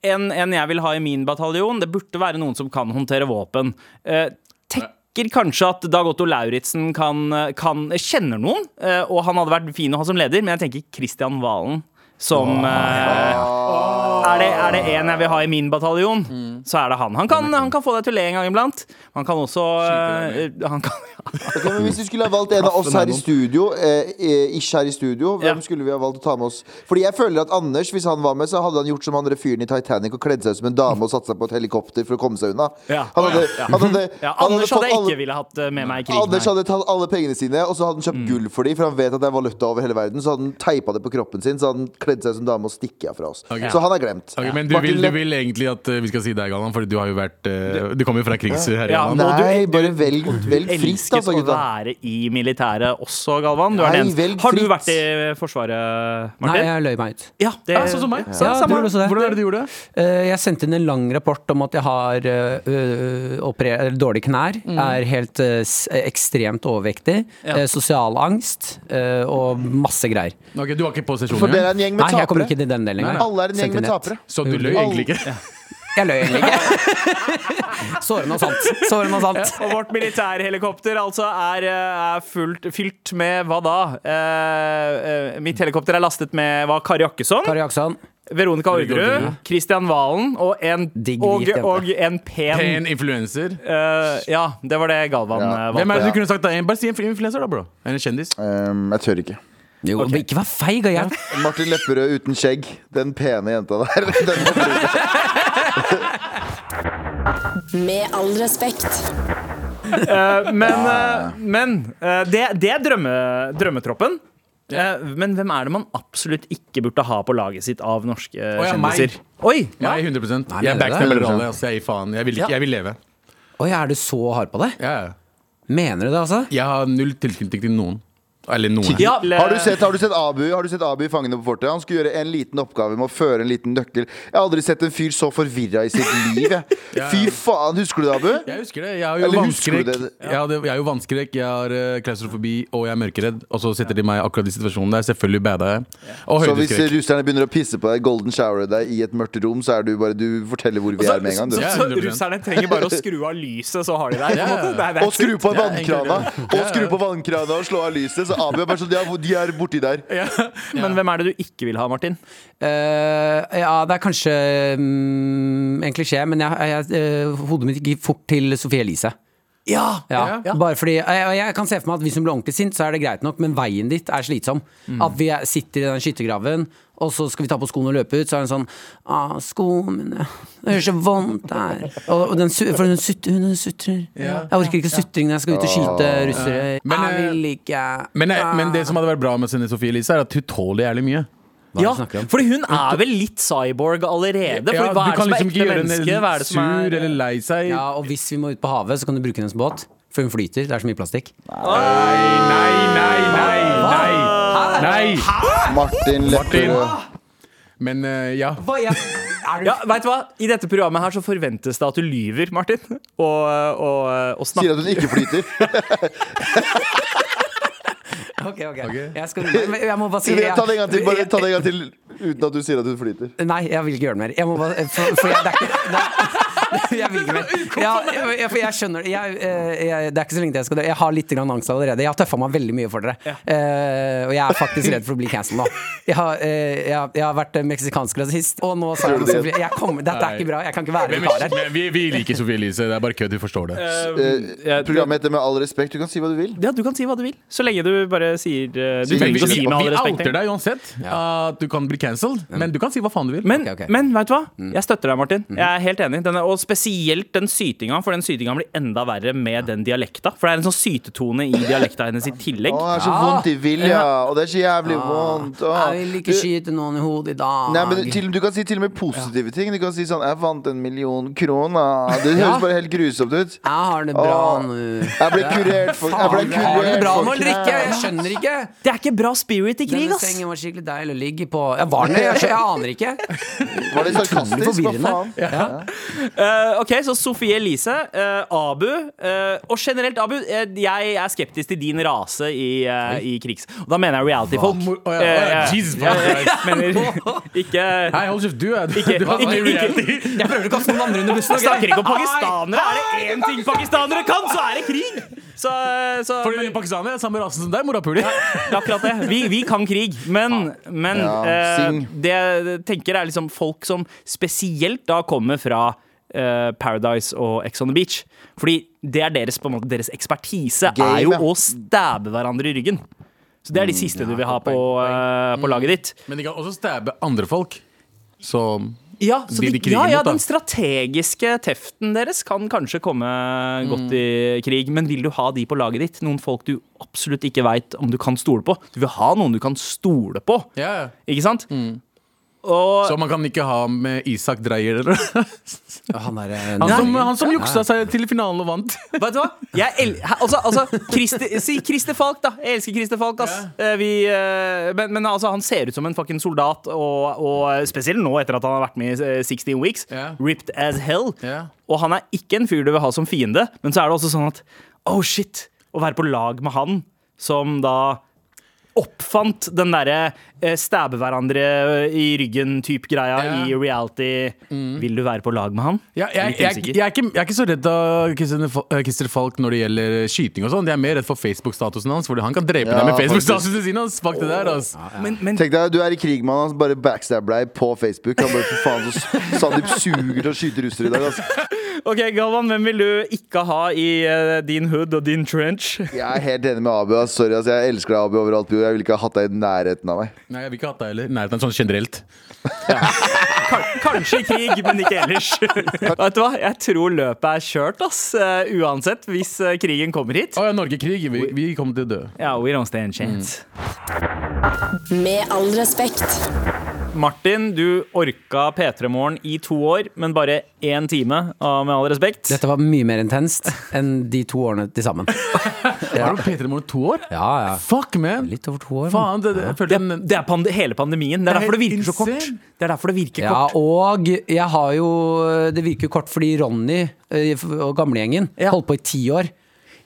A: en, en jeg vil ha i min bataljon, det burde være noen som kan håndtere våpen. Eh, tenker kanskje at Dag Otto Lauritzen kan, eh, kan kjenner noen, eh, og han hadde vært fin å ha som leder, men jeg tenker Kristian Valen som eh, er, det, er det en jeg vil ha i min bataljon,
C: Mm.
A: så er det han. Han kan, han kan få deg til å le en gang iblant. Han kan også eh, han kan,
D: Ok, men hvis du skulle ha valgt en av oss her i studio, eh, eh, ish her i studio, hvem
A: Ja.
D: skulle vi ha valgt å ta med oss? Fordi jeg føler at Anders, hvis han var med, så hadde han gjort som han der fyren i Titanic og kledd seg ut som en dame og satt seg på et helikopter for å komme seg unna.
A: Ja.
D: Han hadde,
A: Ja.
D: han hadde,
A: ja,
D: han
A: Anders
D: fått
A: hadde jeg
D: alle-
A: ikke ville hatt eh, med meg i
D: Anders
A: krigen.
D: hadde tatt alle pengene sine og så hadde han kjøpt
A: Mm.
D: gull for dem, for han vet at det er valuta over hele verden. Så hadde han teipa det på kroppen sin, så hadde han kledd seg som dame og stikket av fra oss. Så han er glemt.
B: Ok, men du
D: Martin
B: vil, du
D: Lepp-
B: vil egentlig at eh, vi skal si deg, Galvan, Fordi du har jo vært eh, Du kommer jo fra krigsherre.
A: Ja,
B: Ja,
A: men- Og du-
D: Nei, bare velg, velg fritt,
A: elsket
D: altså,
A: å
D: gutta.
A: være i militæret også, Galvan. Du er
D: Nei,
A: den eneste.
D: velg
A: Har du
D: fritt.
A: vært i Forsvaret,
C: Nei,
A: Martin?
C: jeg løy meg ut.
A: ja, det,
B: sånn som meg.
C: Ja,
B: Samme.
C: du gjorde også det.
B: Hvordan er det du gjorde det?
C: Eh, Jeg sendte inn en lang rapport om at jeg har eh, ø, operer- eller dårlige knær, er helt eh, s- ekstremt overvektig, eh, sosial angst eh, og masse greier.
B: Ok, Du var ikke på
D: For
B: sesjonen?
D: dere
B: engang?
D: er en gjeng
C: Nei,
D: med
C: jeg kommer
D: tapere.
C: ikke til den delen engang.
D: Alle er en gjeng
C: Sendte
D: med
C: nett.
D: tapere.
B: Så du løy egentlig ikke?
C: Jeg løy egentlig ikke. Såre noe sant. Såre noe sant.
A: Og vårt militærhelikopter altså er, eh, er fullt, fylt med hva da? Eh, eh, mitt helikopter er lastet med hva, Kari Jakkesson,
C: Kari Jaksson.
A: Veronica Orderud,
B: Orderud.
A: Kristian Valen og en,
C: Digg
A: og,
C: hvit jente.
A: og en pen,
B: Pen influenser?
A: eh, Ja, det var det Galvan
D: Ja.
A: eh, valgte.
B: Hvem er det
D: Ja.
B: du kunne sagt da? En- Bare si en influenser, da, bro. En kjendis.
D: Um, jeg tør ikke.
C: Jo, men Ikke vær feig, og jeg
D: Martin Lepperød uten skjegg. Den pene jenta der. Den må bli-
E: Med all respekt.
A: Eh, men eh, men eh, det, det er drømme, drømmetroppen. Eh, men hvem er det man absolutt ikke burde ha på laget sitt av norske eh,
B: ja, meg.
A: kjendiser? Oi!
B: Nei, 100
C: Nei,
B: Jeg
C: mener du
B: backer
D: det?
B: Lerane. Altså, jeg gir faen. Jeg vil, ikke,
C: Ja.
B: jeg vil leve.
C: Oi, er du så hard på det?
B: Ja, ja.
C: Mener du det, altså?
B: Jeg har null tilknytning til noen. Eller noen.
A: Ja, Eh, le-
D: Har du, sett, har, du sett Abu, har du sett Abu i Fangene på fortet? Han skulle gjøre en liten oppgave med å føre en liten nøkkel. Jeg har aldri sett en fyr så forvirra i sitt liv. jeg. Fy faen, husker du det, Abu?
B: Jeg husker det. Jeg har jo
D: Eller husker du
B: vannskrekk.
D: det?
B: Jeg, hadde, jeg, er jo vannskrekk. jeg har eh, klaustrofobi og jeg er mørkeredd. Og så setter de meg akkurat i situasjonen der. Selvfølgelig bada jeg. Og
D: Så hvis
B: høydeskrekk.
D: russerne begynner å pisse på deg, golden shower deg i et mørkt rom, så er du bare Du forteller hvor vi
A: Så,
D: er med en gang,
A: så,
D: du.
B: Ja,
A: så
B: 100%.
A: russerne trenger bare å skru av lyset, så har de deg. på en
B: Ja.
A: måte. Det er- det er
D: Og skru på vannkrana!
B: egentlig
D: Og skru på vannkrana og slå av lyset. Så Abu er bare sånn Ja, hvor- de er borti der.
A: Men hvem er det du ikke vil ha, Martin?
C: Eh, ja, det er kanskje mm, en klisjé, men jeg, jeg, eh, hodet mitt gikk fort til Sofie Elise.
A: Ja!
C: Ja, Bare fordi, jeg, jeg kan se for meg at hvis hun blir ordentlig sint, så er det greit nok, men veien dit er slitsom. At vi er- sitter i den skyttergraven, og så skal vi ta på skoene og løpe ut, så er hun sånn ah, 'Skoene mine. Det gjør så vondt her.' Og, og den, su- for hun, sut, hun sutrer. Jeg orker ikke sutring når jeg skal ut og skyte russere.
B: Men,
C: jeg vil ikke
B: Men, jeg, men
A: Ah.
B: det som hadde vært bra med Senne Sofie Elise, er at hun tåler jævlig mye.
C: Hva er det
A: Ja,
C: du snakker om?
A: fordi hun er vel litt cyborg allerede? Fordi hva er det
B: liksom
A: som er ekte menneske? Hva er det
B: sur
A: som er
B: eller lei seg.
C: Ja, og hvis vi må ut på havet, så kan du bruke hennes båt. For hun flyter. Det er så mye plastikk.
B: Nei, nei, nei, nei. nei.
D: Martin Lepperød.
B: Men eh, ja.
A: ja, vet du hva? I dette programmet her så forventes det at du lyver, Martin. Og, og, og
D: Sier
A: snakker
D: at hun ikke flyter.
C: Ok, ok. Jeg, skal, men jeg må bare si
D: Silje, Ta det en gang til, bare
C: jeg-
D: ta det en gang til uten at du sier at hun flyter.
C: Nei, jeg vil ikke gjøre det mer. Jeg må bare, for, for jeg, det er ikke det er, jeg vil ikke mer. Ja, jeg, for jeg skjønner det. Jeg, eh, jeg, det er ikke så lenge til jeg skal dø. Jeg har litt grann angst allerede. Jeg har tøffa meg veldig mye for dere. Eh, og jeg er faktisk redd for å bli cancelled nå. Jeg har, eh, jeg, har- jeg har vært eh, meksikansk rasist, og nå sa jeg
D: Gjør
C: noe
D: du
C: som
D: det?
C: blir- jeg kommer, Dette er ikke bra. Jeg kan ikke være
B: Men,
C: vikar her.
B: men vi, vi liker Sofie Elise. Det er bare kødd. Vi forstår det.
C: Um,
D: Eh, Programmet heter Med all respekt. Du kan si hva du vil.
A: Ja, du kan si hva du vil. Så lenge du bare sier eh, Du
D: Sier
A: trenger
B: Vi,
A: ikke å si
B: vi,
A: med all
B: vi
A: respekt.
B: outer
A: egentlig.
B: deg uansett. At du kan bli cancelled. Men du kan si hva faen du vil.
A: Men,
C: Ok, ok.
A: men vet du hva?
B: Mm.
A: Jeg støtter deg, Martin. Jeg er helt enig. Den er, og spesielt den sytinga, for den sytinga blir enda verre med den dialekta. For det er en sånn sytetone i dialekta hennes i tillegg.
D: Å, det er så vondt i Vilja, og det er så jævlig vondt. Å.
C: Ah. Jeg vil ikke
D: Du-
C: skyte noen i hodet i dag.
D: Nei, men til, Du kan si til og med positive ting. Du kan si sånn 'Jeg vant en million kroner'. Det høres bare helt grusomt ut.
C: Jeg har det bra
D: Åh.
C: nå.
D: Jeg ble kurert for Jeg ble
C: Faen, jeg har det
D: kurert
C: bra med
D: for
C: å drikke! Jeg
D: knær.
C: skjønner ikke!
A: Det er ikke bra spirit i krig,
C: Denne
A: ass!
C: sengen var skikkelig deilig å ligge på. Jeg var den, jeg, skjø- jeg aner ikke.
D: Var det sarkastisk? Hva
C: forvirrende.
D: faen?
A: Eh, ok, så Sofie Elise, eh, Abu eh, Og generelt, Abu, eh, jeg er skeptisk til din rase i, eh, i krigs... Og da mener jeg reality-folk.
B: Hva? Å, ja, å, ja.
A: Eh,
B: Jesus,
A: ja, ja,
B: Christ.
A: jeg mener ikke
B: Hei, hold kjeft. Du er du,
A: Ikke-
B: du har
A: ikke- ikke-
B: reality.
C: Jeg prøver ikke å kaste noen andre under bussen.
A: Jeg
C: ok?
A: snakker ikke om pakistanere. Er det én ting pakistanere kan, så er det krig! Så, så
B: Fordi pakistanere er samme rasen som deg, morapuler.
A: Det er akkurat det. Vi, vi kan krig, men, men
D: Ja,
A: eh,
D: sing.
A: det jeg tenker er liksom folk som spesielt da kommer fra eh, Paradise og Ex on the Beach. Fordi det er deres, på en måte, deres ekspertise
D: Game,
A: er jo
D: ja. Mm,
A: å stabbe hverandre i ryggen. Så det er de siste du vil ha på, eh, på laget ditt.
B: Men de kan også stabbe andre folk. Som
A: Ja, så
B: De
A: de,
B: de kriger
A: ja, ja,
B: mot, da.
A: den strategiske teften deres kan kanskje komme
B: Mm.
A: godt i krig. Men vil du ha de på laget ditt? Noen folk du absolutt ikke veit om du kan stole på. Du vil ha noen du kan stole på,
B: ja.
A: ikke sant?
B: Mm.
A: Og
B: Så man kan ikke ha med Isak Dreyer eller
C: Han er, eh,
B: Han som,
C: nei.
B: han som juksa seg til finalen og vant.
A: Vet du hva? Jeg el Hæ, altså, altså Christer, Si Christer Falk, da. Jeg elsker Christer Falk. Ass. Eh, Vi, eh, men men altså, han ser ut som en fucking soldat, og, og spesielt nå etter at han har vært med i eh, 16 Weeks.
B: Ja.
A: Ripped as hell.
B: Ja.
A: Og han er ikke en fyr du vil ha som fiende, men så er det også sånn at oh shit, å være på lag med han som da oppfant den derre eh, stabbe hverandre eh, i ryggen-type greia
B: Ja. Mm.
A: i reality. Vil du være på lag med han?
B: Ja, jeg,
A: Litt
B: jeg,
A: usikker.
B: jeg, er ikke, jeg er ikke så redd av Christian Fa- eh, Christer Falk når det gjelder skyting og sånn. Jeg er mer redd for Facebook-statusen hans, Fordi han kan drepe
D: Ja,
B: deg med
D: faktisk.
B: Facebook-statusen sin. ass. Fuck det der, ass.
A: Men, men
D: Tenk deg, Du er i krig med han, han bare backstabber deg på Facebook. Han bare, for faen, så Sandeep suger til å skyte russere i dag. Altså.
A: Ok, Galvan, hvem vil du ikke ha i eh, din hood og din trench?
D: Jeg er helt enig med Abu. ass. Sorry, ass. Jeg elsker deg, Abu, overalt på jord. Jeg ville ikke ha hatt deg i nærheten av meg.
B: Nei, jeg vil ikke ha hatt deg heller. Nei, det er sånn generelt.
A: Kan- Kanskje i krig, men ikke ellers. Vet du hva? Jeg tror løpet er kjørt, ass. eh, Uansett, hvis eh, krigen kommer hit.
B: Å ja, Norge-krig. Vi, vi kommer til å dø.
A: Ja, we don't stand chance.
E: Med all respekt.
A: Mm. Martin, du orka P3 Morgen i to år, men bare én time, av med all respekt.
C: Dette var mye mer intenst enn de to årene til sammen.
B: Har du P3 Morgen to år?
C: Ja, ja.
B: Fuck, man!
C: Litt over to år. men-
B: Faen, det, det, jeg følte en
A: Det er pande hele pandemien. Det er,
B: Det er
A: derfor det
B: helt
A: virker så
B: insane.
A: kort. Det er derfor det virker
C: Ja,
A: kort.
C: og jeg har jo eh, Det virker kort fordi Ronny eh, og gamlegjengen holdt på i ti år.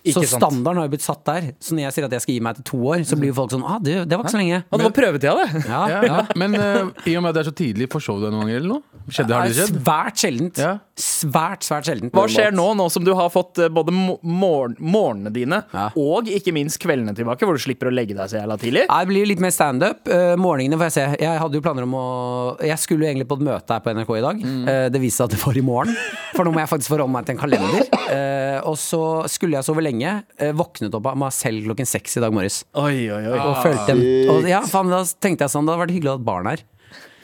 C: Så
A: Ikke sant.
C: standarden har jo blitt satt der. Så når jeg sier at jeg skal gi meg til to år, så blir jo folk sånn ah, det, det var ikke så lenge.
A: Ja, det var prøvetida, det.
C: Ja,
B: ja,
C: ja.
B: Men eh, i og med at det er så tidlig, forsov du deg noen ganger eller noe? Skjedde, har
C: Det
B: det
C: er
B: skjedd?
C: svært sjeldent.
B: Ja.
C: Svært, svært sjeldent.
A: Hva skjer nå, nå som du har fått eh, både mo- morgen, morgenene dine
C: Ja.
A: og ikke minst kveldene tilbake, hvor du slipper å legge deg så jævla tidlig?
C: Nei, Det blir litt mer standup. Uh, morgenene får jeg se. Jeg hadde jo planer om å Jeg skulle jo egentlig på et møte her på NRK i dag. Eh, det viste seg at det var i morgen. For nå må jeg faktisk forholde meg til en kalender. Eh, og så skulle jeg sove lenge. eh, våknet opp av meg selv klokken seks i dag morges.
A: Oi, oi, oi.
C: Og følte dem og, Ja, faen, da tenkte jeg sånn Det hadde vært hyggelig å ha et barn her.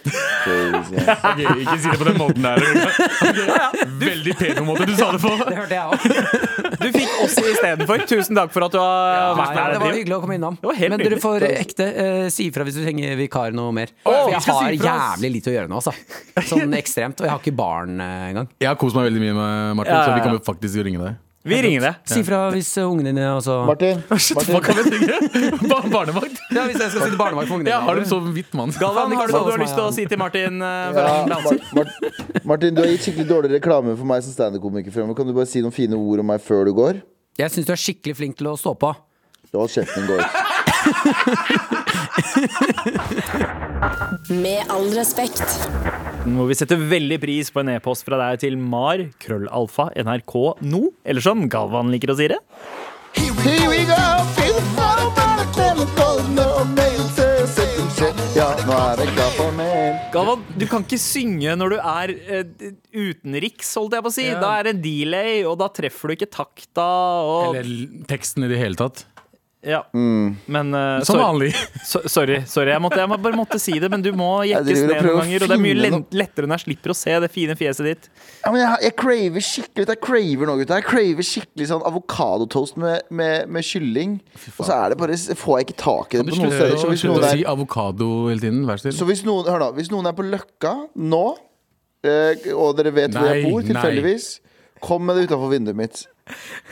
B: Ok, ikke si det på den måten der. Ok, Veldig pedo-måte du sa det på.
C: Det hørte jeg òg.
A: Du fikk oss istedenfor. Tusen takk for at du har vært
C: Nei,
A: med.
C: det var
A: Dream.
C: hyggelig å komme innom.
A: var helt
C: Men dere
A: nydelig.
C: får ekte eh, si ifra hvis du trenger vikar noe mer.
B: Å,
C: For
B: vi
C: jeg
B: skal
C: har
B: si ifra, ass.
C: jævlig lite å gjøre nå, altså. Sånn ekstremt. Og jeg har ikke barn eh, engang.
B: Jeg har kost meg veldig mye med Martin,
A: Ja, ja,
B: så vi
A: ja.
B: kommer faktisk til å ringe deg.
A: Vi ringer deg.
C: Si ifra hvis eh, ungene dine også
D: Martin,
B: Hva kan vi ringe? Bar barnevakt?
C: Ja, hvis jeg skal sitte barnevakt for ungene
B: Jeg har
C: mine.
B: dem som hvitt mann.
A: Galvan, har du noe du har lyst til å si til Martin? eh, før han blir ansatt?
D: Martin, du har gitt skikkelig dårlig reklame for meg som standup-komiker fremover. Kan du bare si noen fine ord om meg før du går?
C: Jeg syns du er skikkelig flink til å stå på.
D: Hold kjeften din går.
E: Med all respekt.
A: hvor vi setter veldig pris på en e-post fra deg til mar krøllalfa nrk no, eller som Galvan liker å si det.
D: Here we go, feel the fun about the telephone, no mail, say, say, say. Ja, nå er det klar for mail.
A: Galvan, du kan ikke synge når du er eh, utenriks, holdt jeg på å si.
B: Ja.
A: Da er det delay, og da treffer du ikke takta og
B: Eller teksten i det hele tatt.
A: ja. Men eh,
B: Som
A: sorry.
B: vanlig.
A: So, sorry, sorry. Jeg, måtte, jeg må- bare måtte si det, men du må
D: Jeg
A: jekkes
D: driver og
A: ned noen
D: prøver å
A: ganger. Og det er mye
D: finne
A: len-
D: noe.
A: lettere når jeg slipper å se det fine fjeset ditt.
D: Ja, men jeg, jeg craver skikkelig Jeg craver nå, gutta. Jeg craver skikkelig sånn avokadotoast med, med, med kylling. Og så er det bare, får jeg ikke tak i det
B: Du
D: på noen
B: slutter
D: steder. Så
B: å,
D: hvis
B: slutter å
D: noen er
B: si avokado hele tiden. Vær så
D: Så
B: snill.
D: hvis noen, hør da, hvis noen er på Løkka nå, eh, og dere vet hvor jeg
B: Nei,
D: bor,
B: nei.
D: tilfeldigvis, kom med det utafor vinduet mitt.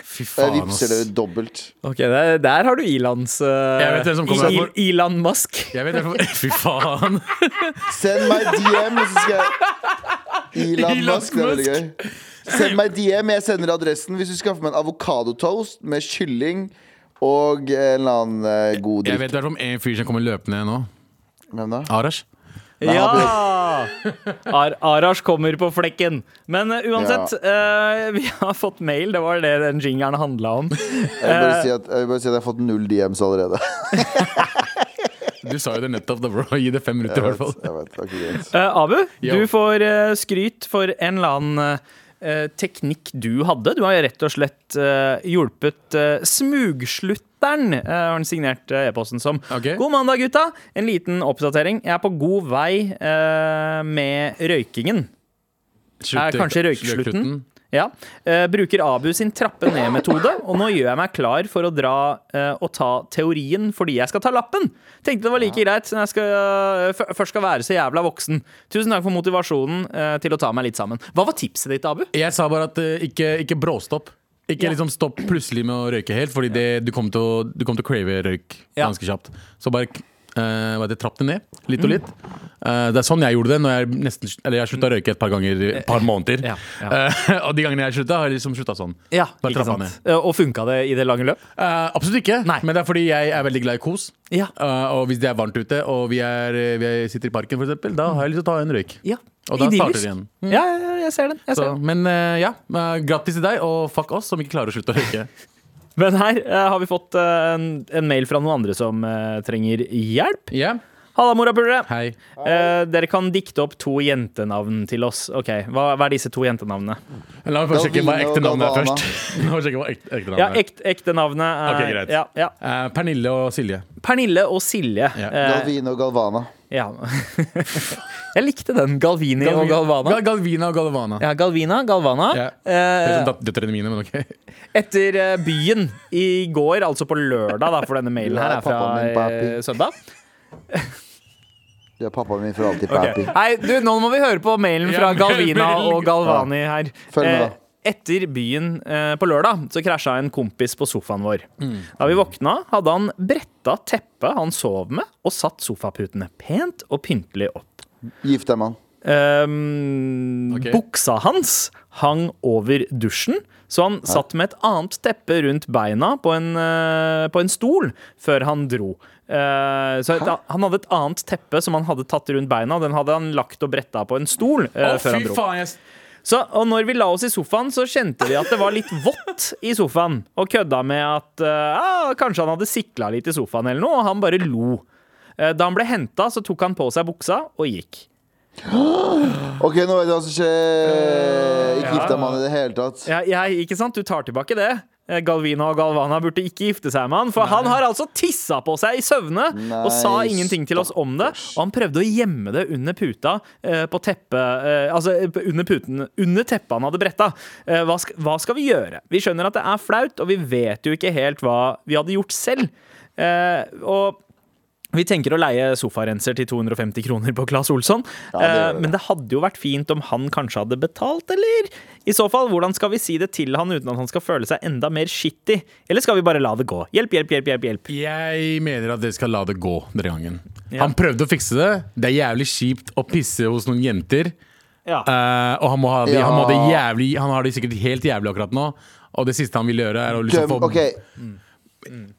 B: Fy
D: Jeg
B: faen, ass.
D: vippser dere dobbelt.
A: Ok, Der, har du Ilans eh,
B: Jeg vet hvem som kommer. Il-
A: Ilan Musk.
B: Jeg vet derfor Fy faen.
D: Send meg DM, og så skal jeg Elon
B: Elon
D: Musk, det er veldig gøy. Send meg DM, jeg sender adressen hvis du skaffer meg en avokadotoast med kylling og en eller annen eh, god
B: Jeg
D: drikk.
B: vet i hvert fall om en fyr som kommer løpende nå.
D: Hvem da?
B: Arash.
A: Ja! Ar Arash kommer på flekken. Men eh, uansett, eh, vi har fått mail. Det var det den jingeren handla om.
D: Jeg vil bare si at jeg, vil bare si at jeg har fått null DMs allerede.
B: Du sa jo det nettopp, da, bro. Gi det fem minutter, i
D: Jeg
B: hvert fall.
D: vet, jeg vet, det er ikke greit.
A: Eh, Abu,
B: Ja.
A: du får eh, skryt for en eller annen eh, teknikk du hadde. Du har jo rett og slett eh, hjulpet eh, Smugslutteren, eh, har han signert eh, e-posten som.
B: Ok.
A: God mandag, gutta! En liten oppdatering. Jeg er på god vei eh, med røykingen.
B: Slutt-
A: er kanskje røykeslutten. Ja. Eh, bruker Abu sin trappe ned-metode, og nå gjør jeg meg klar for å dra eh, og ta teorien fordi jeg skal ta lappen. Tenkte det var like greit når jeg skal, eh, f- først skal være så jævla voksen. Tusen takk for motivasjonen eh, til å ta meg litt sammen. Hva var tipset ditt, Abu?
B: Jeg sa bare at eh, ikke, ikke bråstopp. Ikke liksom stopp plutselig med å røyke helt, fordi det, du kommer til å, du kommer til å crave røyk
A: Ja. Mm.
B: ganske kjapt. Så bare eh, hva heter det, trapp det ned, litt og litt. Eh, det er sånn jeg gjorde det. Når jeg nesten, eller jeg slutta å røyke et par ganger et par måneder.
A: Ja, ja.
B: Eh, og de gangene jeg slutta, har jeg liksom slutta sånn. bare
A: ikke
B: trappa ned.
A: sant? Eh, Og funka det i det lange løp?
B: Eh, absolutt ikke,
A: Nei.
B: men det er fordi jeg er veldig glad i kos.
A: Ja.
B: Eh, og hvis det er varmt ute, og vi, er, eh, vi er- sitter i parken, for eksempel, da har jeg lyst til å ta en røyk.
A: Ja.
B: Og da
A: Idyllisk.
B: starter det igjen.
A: Mm. Ja, ja, ja, jeg ser den. Jeg ser den.
B: Så, men eh, ja, eh, grattis til deg, og fuck oss som ikke klarer å slutte å røyke.
A: Men her eh, har vi fått eh, en, en mail fra noen andre som eh, trenger hjelp.
B: Ja.
A: Halla, morapulere.
B: Hei.
A: Eh, dere kan dikte opp to jentenavn til oss. Ok, Hva, hva er disse to jentenavnene?
B: La meg først sjekke hva ekte
D: Galvino og
B: navnet er
D: Galvana.
B: først. La meg sjekke hva ekte, ekte
A: Ja,
B: navnet er.
A: ekte, ekte navnet er
B: Ok, greit.
A: Ja, ja.
B: Eh, Pernille og Silje.
A: Pernille og Silje.
B: Ja.
A: Eh,
D: Galvino og Galvana.
A: ja. Jeg likte den. Galvini og Galvana.
B: Gal Galvina og Galvana.
A: Ja, Galvina, Galvana.
B: Ja. Det er
A: Eh,
B: som dat- Døtrene mine, men ok.
A: Etter eh, byen i går, altså på lørdag, da, for denne mailen her
D: Ja,
A: er fra
D: pappaen min,
A: eh,
D: papi.
A: søndag.
D: Du er pappaen min for alltid,
A: Ok.
D: papi.
A: Nei, du, nå må vi høre på mailen fra
B: Ja,
A: Galvina
B: mail.
A: og Galvani her.
D: Følg med, da.
A: Eh, Etter byen eh, på lørdag så krasja en kompis på sofaen vår.
D: Mm.
A: Da vi våkna, hadde han bretta teppet han sov med, og satt sofaputene pent og pyntelig opp.
D: Gift deg, mann.
A: Ehm,
B: Ok.
A: Buksa hans hang over dusjen, så han satt med et annet teppe rundt beina på en, eh, på en stol før han dro. Eh, så et, han hadde et annet teppe som han hadde tatt rundt beina, og den hadde han lagt og bretta på en stol eh, før han dro.
B: faen, jeg
A: Så, og når vi la oss i sofaen, så kjente vi at det var litt vått i sofaen, og kødda med at eh, ah, kanskje han hadde sikla litt i sofaen eller noe, og han bare lo. Eh, Da han ble henta, så tok han på seg buksa og gikk.
D: Ok, nå vet jeg hva som skjer. Ikke gift deg, mann, i det hele tatt.
A: Ja, jeg, ikke sant? Du tar tilbake det. Eh, Galvina og Galvana burde ikke gifte seg med han, for han har altså tissa på seg i søvne
D: Nei,
A: og sa ingenting til oss om det. Og han prøvde å gjemme det under puta eh, på teppet eh, Altså eh, under puten Under teppet han hadde bretta. Eh, hva, sk hva skal vi gjøre? Vi skjønner at det er flaut, og vi vet jo ikke helt hva vi hadde gjort selv. Eh, og vi tenker å leie sofarenser til 250 kroner på Claes Olsson.
D: det gjør
A: eh,
D: vi.
A: men det hadde jo vært fint om han kanskje hadde betalt, eller? I så fall, hvordan skal vi si det til han uten at han skal føle seg enda mer shitty? Eller skal vi bare la det gå? Hjelp, hjelp, hjelp, hjelp. hjelp.
B: Jeg mener at dere skal la det gå denne gangen.
A: Ja.
B: Han prøvde å fikse det. Det er jævlig kjipt å pisse hos noen jenter.
A: Ja.
B: eh, og han, må ha det,
D: Ja.
B: han, må ha det jævlig, han har det sikkert helt jævlig akkurat nå. Og det siste han vil gjøre, er å liksom
D: Døm,
B: få
D: ok,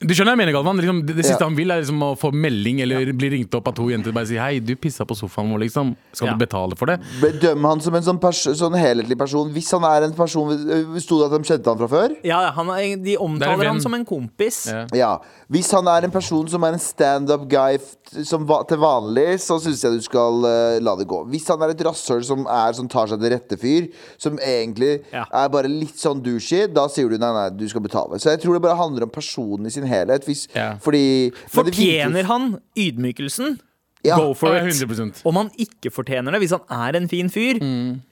B: Du skjønner hva jeg mener, Galvan? Liksom, det, det
D: Ja.
B: siste han vil, er liksom å få melding eller bli ringt opp av to jenter og bare si 'hei, du pissa på sofaen vår', liksom. Skal
A: Ja.
B: du betale for det?
D: Bedøm han som en sånn, pers sånn helhetlig person. Hvis han er en person Sto det at de kjente han fra før?
A: Ja, han, er- de omtaler
B: venn.
A: han som en kompis.
B: Ja.
D: Ja. Hvis han er en person som er en standup guy f- som va til vanlig, så syns jeg du skal eh, la det gå. Hvis han er et rasshøl som, er- som tar seg til rette fyr, som egentlig
A: Ja.
D: er bare litt sånn douchey, da sier du nei, nei, du skal betale. Så jeg tror det bare handler om personen i sin helhet. Hvis,
B: Ja.
D: Fordi men det virker-
A: Fortjener han ydmykelsen?
D: Ja.
A: Go for
B: Ja,
A: it.
B: 100%.
A: Om han ikke fortjener det, hvis han er en fin fyr,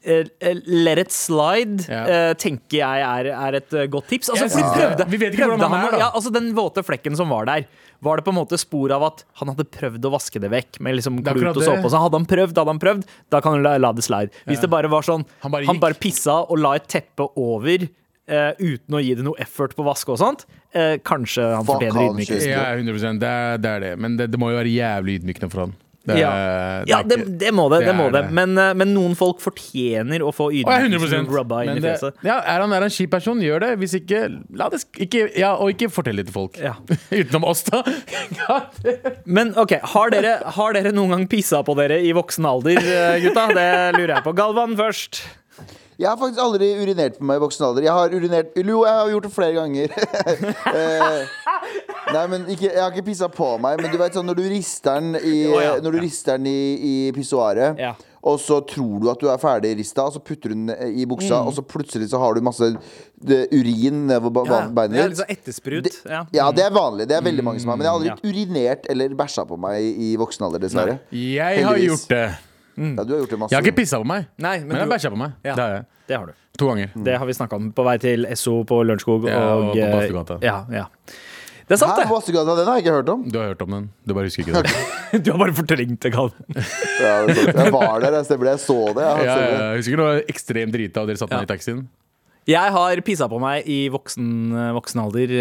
A: eh, eh, let it slide,
B: Mm. Ja.
A: eh, tenker jeg er, er et eh, godt tips. Altså,
B: Jeg
A: for
B: synes
A: de
B: det.
A: prøvde,
B: Vi vet ikke
A: prøvde
B: hvordan han
A: å-
B: er, da.
A: Ja, altså, den våte flekken som var der, var det på en måte spor av at han hadde prøvd å vaske det vekk med liksom
B: er akkurat
A: klut og
B: det.
A: såpe? og Så hadde han prøvd, hadde han prøvd, da kan du la, la det slide. Hvis det bare var sånn,
B: Han
A: han
B: bare
A: bare,
B: gikk.
A: pissa og la et teppe over eh, uten å gi det noe effort på å vaske og sånt, eh, kanskje han
D: Fuck
A: fortjener
D: han,
A: ydmykelse.
D: kjører.
B: Ja, 100 det er, det er det. Men det, det må jo være jævlig ydmykende for han. Det,
A: Ja,
B: er- det
A: ja
B: er
A: det,
B: ikke-
A: det må det.
B: det
A: det, må
B: er
A: det.
B: det.
A: Men, eh, men noen folk fortjener å få
B: Å, ja,
A: ydmykelsen
B: 100
A: rubba inn
B: Men
A: i
B: det,
A: fjeset.
B: ja, er, han, er han kjip person, gjør det. Hvis ikke, la det sk- ikke ja, Og ikke fortell det til folk.
A: Ja.
B: Utenom oss, da.
A: Men ok, har dere, har dere noen gang pissa på dere i voksen alder, eh, gutta? Det lurer jeg på. Galvan først.
D: Jeg har faktisk aldri urinert på meg i voksen alder. Jeg har urinert Jo, jeg har gjort det flere ganger. Eh, Nei, men ikke, Jeg har ikke pissa på meg, men du vet sånn når du rister den i,
A: Å, ja.
D: når du rister den i, i pissoaret,
A: Ja.
D: og så tror du at du er ferdig rista, og så putter du den i
A: Mm.
D: buksa, og så plutselig så har du masse det, urin nedover ba- ba-
A: Det er
D: beinet
A: litt sånn ettersprut.
D: Det-
A: Ja. Mm.
D: Ja, det er vanlig. Det er veldig mange som har Men jeg har aldri urinert eller bæsja på meg i voksen alder, dessverre.
B: Jeg har
D: Heldigvis.
B: gjort det.
D: Ja, du har gjort det masse.
B: Jeg har ikke pissa på meg,
A: Nei, men
B: men jeg
A: du-
B: har bæsja på meg.
A: Ja.
B: Det har jeg.
A: Det har du.
B: To ganger.
A: Det har vi snakka om på vei til Esso på Lørenskog.
B: Ja, og
A: og,
B: på
A: eh,
B: Bastugata.
A: Ja, ja. Det er sant,
D: Hæ,
A: det.
D: Vassegata, den har jeg ikke hørt om.
B: Du har hørt om den. Du bare husker ikke det.
A: Du har bare fortrengt det, Galvan.
D: Ja, det er sant. jeg var der, jeg stemmer det. Jeg så det. Jeg har
B: ja, ja,
D: sett det.
B: jeg husker noe ekstremt drita, og dere satt meg i taxien.
A: Jeg har pissa på meg i voksen, eh, voksen alder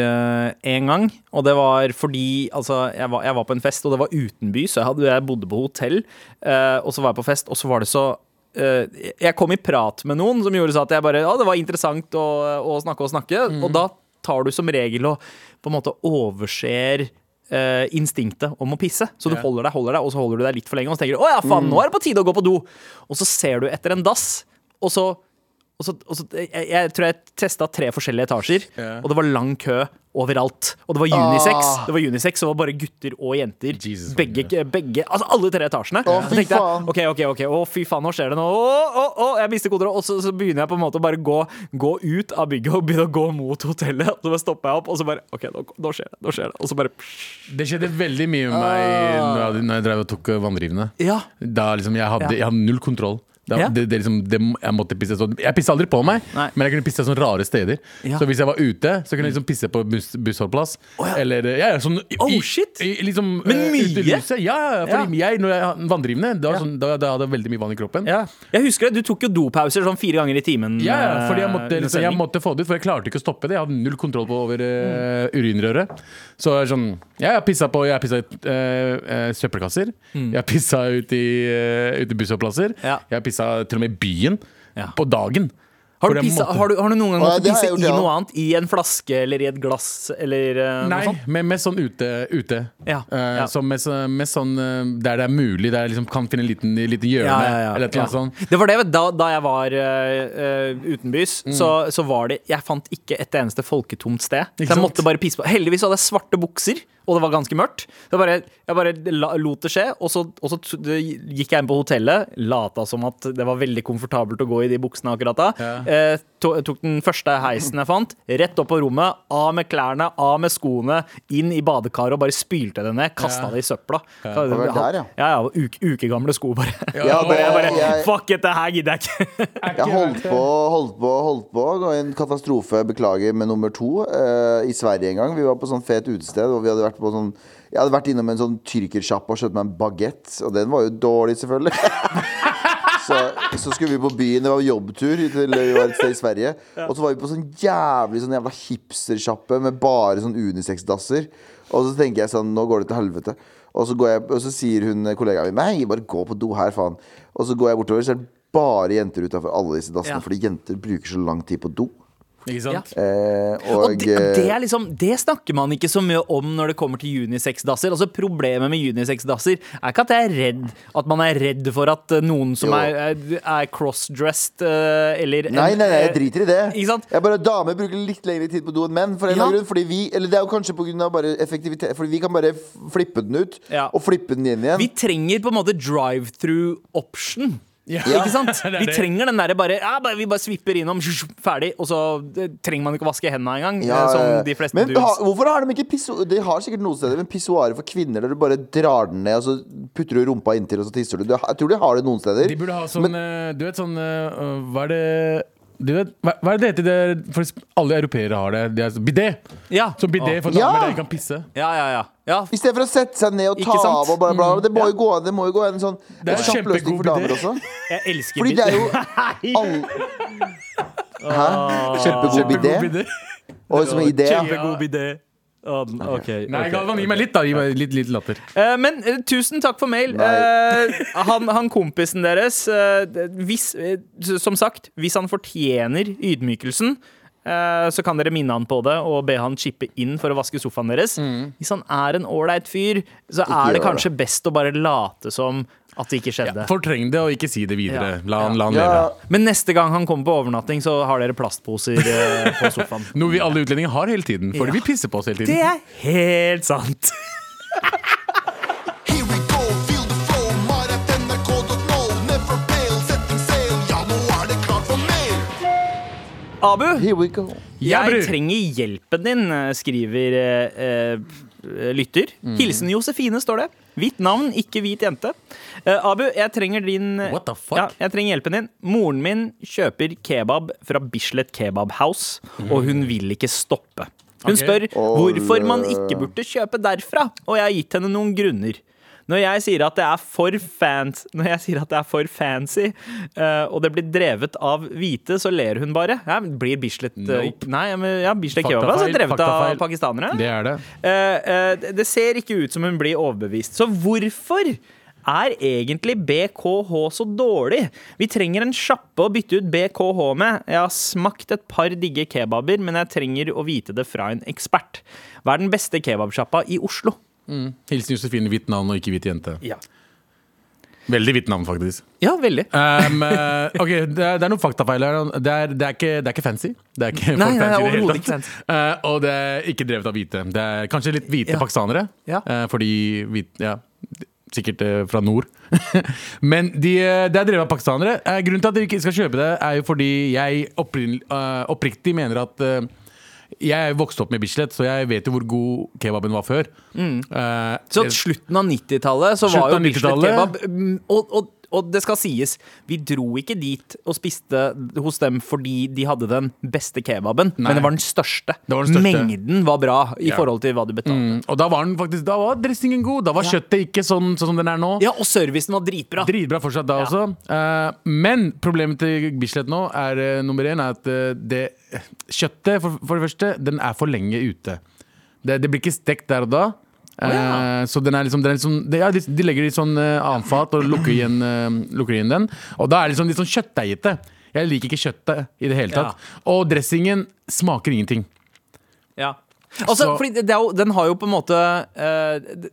A: én gang. Og det var fordi altså, jeg, var, jeg var på en fest, og det var utenbys. Jeg, hadde- jeg bodde på hotell, eh, og så var jeg på fest, og så var det så eh, Jeg kom i prat med noen som gjorde så at jeg bare Ja, det var interessant å, å snakke og snakke. Og da tar du som regel og på en måte overser eh, instinktet om å pisse. Så du
B: Ja.
A: holder deg, holder deg, og så holder du deg litt for lenge. Og så tenker du å ja, faen, nå er det på tide å gå på do. Og så ser du etter en dass, og så Og så, og så, jeg, jeg tror jeg testa tre forskjellige etasjer,
B: Ja. Ah.
A: og det var lang kø overalt. Og det var unisex. Det var unisex, så det var bare gutter og jenter.
B: Jesus,
A: begge, begge, altså Alle tre etasjene.
D: Å,
A: Så
D: fy
A: tenkte jeg,
D: faen.
A: ok, ok, ok, å fy faen, nå skjer det noe. Å, å, å, jeg mister koder. Og så, så begynner jeg på en måte å bare gå, gå ut av bygget og begynne å gå mot hotellet. Og så bare stopper jeg opp, og så bare OK, nå, nå skjer det. nå skjer det Og så bare
B: Det skjedde veldig mye med meg når jeg- når jeg drev og tok eh, vanndrivende.
A: Ah. Ja.
B: Da liksom jeg hadde, jeg hadde null kontroll. Da,
A: Ja.
B: det, det liksom, det, jeg måtte pisse sånn Jeg pissa aldri på meg,
A: Nei.
B: men jeg kunne pisse sånne rare steder.
A: Ja.
B: Så hvis jeg var ute, så kunne jeg liksom pisse på buss, bussholdeplass. Eller ja, ja, sånn i-
A: Oh,
B: i-
A: shit!
B: I, liksom,
A: Men
B: eh,
A: mye?
B: ute i lyset. Ja, ja, fordi jeg, når jeg var vanndrivende, da, var sånn, da, da hadde jeg veldig mye vann i kroppen.
A: Ja. Jeg husker det, du tok jo dopauser sånn fire ganger i timen.
B: Ja, ja,
A: eh,
B: fordi jeg måtte,
A: under
B: liksom, jeg
A: sending.
B: måtte få det ut, for jeg klarte ikke å stoppe det. Jeg hadde null kontroll på over eh, urinrøret. Så jeg er sånn Ja, jeg pissa på Jeg pissa i eh, eh, søppelkasser. Jeg pissa ut i, eh, ut i busshåplasser.
A: Mm. Ja.
B: Jeg pissa til og med i byen.
A: Ja.
B: På dagen.
A: Har du,
B: Fordi jeg
A: pissa,
B: måtte-
A: har, du, har du noen gang
D: Ja,
A: måttet
D: det har
A: pisse
D: jeg gjort,
A: i
D: ja.
A: noe annet? I en flaske eller i et glass eller eh,
B: Nei,
A: noe sånt?
B: men mest sånn ute. ute.
A: Ja,
B: Eh,
A: ja.
B: Så mest, mest sånn eh, der det er mulig, der jeg liksom kan finne en liten, liten hjørne
A: Ja, ja, ja.
B: eller et eller annet
A: Ja.
B: sånt.
A: Det var det, vet du, da, da jeg var eh, eh, utenbys,
B: Mm.
A: så, så var det Jeg fant ikke et eneste folketomt sted. Så jeg
B: sant?
A: måtte bare pisse på. Heldigvis hadde jeg svarte bukser, og det var ganske mørkt. Så jeg bare, jeg bare la, lot det skje, og så, og så t- det gikk jeg inn på hotellet, lata som at det var veldig komfortabelt å gå i de buksene akkurat da.
B: Ja.
A: Eh, to, tok den første heisen jeg fant, rett opp på rommet, av med klærne, av med skoene, inn i badekaret og bare spylte det ned. Kasta
B: Ja.
A: det i søpla. Ja.
D: Det var der, ja.
A: Ja, ja, uke, ukegamle sko, bare.
D: Ja,
A: Bare, jeg bare,
D: jeg-
A: Fuck it, det her gidder jeg ikke.
D: Jeg holdt på, holdt på, holdt på. Og en katastrofe, beklager, med nummer to eh, i Sverige en gang. Vi var på sånn fet utested, og vi hadde vært på sånn jeg hadde vært innom en sånn tyrkersjappe og kjøpt meg en bagett, og den var jo dårlig, selvfølgelig. Så, så skulle vi på byen, det var jobbtur til vi var et sted i Sverige. Og så var vi på sånn jævlig sånn jævla hipstersjappe med bare sånn unisex-dasser. Og så tenker jeg sånn, nå går det til helvete. Og så, går jeg, og så sier hun kollegaen min Nei, bare gå på do her, faen. Og så går jeg bortover, så er det bare jenter utafor alle disse dassene.
A: Ja.
D: Fordi jenter bruker så lang tid på do.
B: Ikke sant?
D: Eh, og
A: Og det, det,
D: eh,
A: er liksom, det snakker man ikke så mye om når det kommer til unisex-dasser. Altså Problemet med unisex-dasser er ikke at jeg er redd At man er redd for at eh, noen som
D: Jo.
A: er, er- er cross-dressed eh, eller en-
D: Nei, nei, nei, jeg driter i det.
A: Ikke sant?
D: Jeg bare Damer bruker litt lengre tid på do enn menn. For
A: Ja.
D: en eller annen grunn Fordi vi Eller det er jo kanskje pga. effektivitet. Fordi vi kan bare f- flippe den ut,
A: Ja.
D: og flippe den inn igjen.
A: Vi trenger på en måte drive-through-option.
B: Ja.
A: Ikke sant?
B: er
A: Vi
B: det.
A: trenger den derre bare, ja, bare Vi bare svipper innom, ferdig, og så eh, trenger man ikke å vaske hendene engang.
D: Ja,
A: eh,
D: ja, ja.
A: som de fleste
D: men
A: dudes.
D: ha, hvorfor har de ikke pisso... De har sikkert noen steder, men pissoarer for kvinner der du bare drar den ned, og så putter du rumpa inntil, og så tisser du. Du- Jeg tror de har det noen steder.
B: De burde ha sånn eh, Du vet sånn eh, Hva er det du vet, hva, hva er det det heter? Det er- For alle europeere har det. det er sånn bidé.
A: Ja.
B: Som bidé for damer
D: Ja!
B: der de kan pisse.
A: Ja, ja, ja. ja.
D: I stedet for å sette seg ned og ta
A: Ikke sant? Mm.
D: av og bla, bla, bla. Det må jo gå an det må jo gå an en sånn
B: er
D: en kjapp
B: kjempegod
D: løsning for damer
B: idé.
D: også.
A: Jeg elsker
D: Fordi
A: bid-
D: det er jo
A: Nei.
D: alle
A: Ah.
D: Hæ? Kjempegod idé?
B: Bidé?
D: Og som en idé. ja.
A: Kjempegod idé. Ja, den- ok,
B: Nei,
A: ok.
B: Galvan, gi meg litt, da. Gi meg litt, litt latter.
A: Eh, men eh, tusen takk for mail. Eh, han, han kompisen deres eh, det- hvis, eh, s- Som sagt, hvis han fortjener ydmykelsen, eh, så kan dere minne han på det og be han chippe inn for å vaske sofaen deres.
B: Mm.
A: Hvis han er en ålreit fyr, så er det
D: gjør
A: kanskje best å bare late som at det ikke skjedde.
B: Fortreng det og ikke si det
A: Ja.
B: videre. La han, la han
D: Ja.
B: leve.
A: Men neste gang han kommer på overnatting, så har dere plastposer eh, på sofaen.
B: Noe vi alle utlendinger har hele tiden. Fordi
A: Ja.
B: vi pisser på oss hele
A: Det
B: tiden.
A: er helt sant.
F: Here we go, feel the flow, mar.nrk.no. Never fail, setting sail. Ja, nå er det klart for mer.
A: Abu,
D: Here we go.
B: Ja,
A: Jeg
B: bror.
A: trenger hjelpen din, skriver eh, eh, lytter.
B: Mhm.
A: Hilsen Josefine, står det. Hvitt navn, ikke hvit jente. Eh, Abu, jeg trenger din eh,
B: What the fuck?
A: Ja, jeg trenger hjelpen din. Moren min kjøper kebab fra Bislett Kebab House, og hun vil ikke stoppe. Hun
B: Mhm. Ok.
A: spør hvorfor man
D: Ole.
A: ikke burde kjøpe derfra, og jeg har gitt henne noen grunner. Når jeg sier at det er for, fans, når jeg sier at det er for fancy, eh, og det blir drevet av hvite, så ler hun bare. Ja, men blir Bislett eh,
B: Nope.
A: Nei, men, ja, Bislett
B: Faktafeil,
A: Kebab er altså drevet av
B: faktafeil.
A: pakistanere.
B: Det er det.
A: Eh, eh, det- det ser ikke ut som hun blir overbevist. Så hvorfor er egentlig BKH så dårlig? Vi trenger en sjappe å bytte ut BKH med. Jeg har smakt et par digge kebaber, men jeg trenger å vite det fra en ekspert. Hva er den beste kebabsjappa i Oslo?
B: Hilsen Josefine, hvitt navn og ikke hvit jente. Veldig hvitt navn, faktisk.
A: Ja, veldig.
B: Um, eh, ok, det er, det er noen faktafeil her. Det er, det, er ikke, det er ikke fancy. Det er ikke
A: Nei,
B: folk
A: nei,
B: fancy i det hele
A: overhodet
B: tatt. Eh, og det er ikke drevet av hvite. Det er kanskje litt hvite
A: Ja.
B: pakistanere.
A: Ja.
B: eh, fordi hvit, ja, Sikkert eh, fra nord. Men de, eh, det er drevet av pakistanere. Eh, grunnen til at dere ikke skal kjøpe det, er jo fordi jeg opprinn- eh, oppriktig mener at eh, jeg vokste opp med Bislett, så jeg vet jo hvor god kebaben var før. Eh,
A: Mm. Så
B: jeg-
A: slutten av 90-tallet så
B: Slutten
A: var jo
B: av
A: Bislett
B: 90-tallet.
A: kebab mm, og, og, og det skal sies, vi dro ikke dit og spiste hos dem fordi de hadde den beste kebaben,
B: Nei.
A: men det var den største.
B: Det var den største.
A: Mengden var bra i
B: Ja.
A: forhold til hva du betalte.
B: Mm, og da var, den faktisk, da var dressingen god. Da var kjøttet ikke sånn, sånn som den er nå.
A: Ja, og servicen var dritbra.
B: Dritbra fortsatt da også. Eh, men problemet til Bislett nå er eh, nummer én er at eh, det Kjøttet, for, for det første, den er for lenge ute. Det, det blir ikke stekt der og da. Eh, Så den er liksom, den er liksom det, ja, de, de legger det i sånn eh, annet fat og lukker igjen, eh, lukker igjen den. Og da er det liksom litt sånn kjøttdeigete. Jeg liker ikke kjøttet i det hele
A: Ja.
B: tatt. Og dressingen smaker ingenting.
A: Ja. Altså,
B: Så-
A: fordi det er jo, den har jo på en måte eh, det,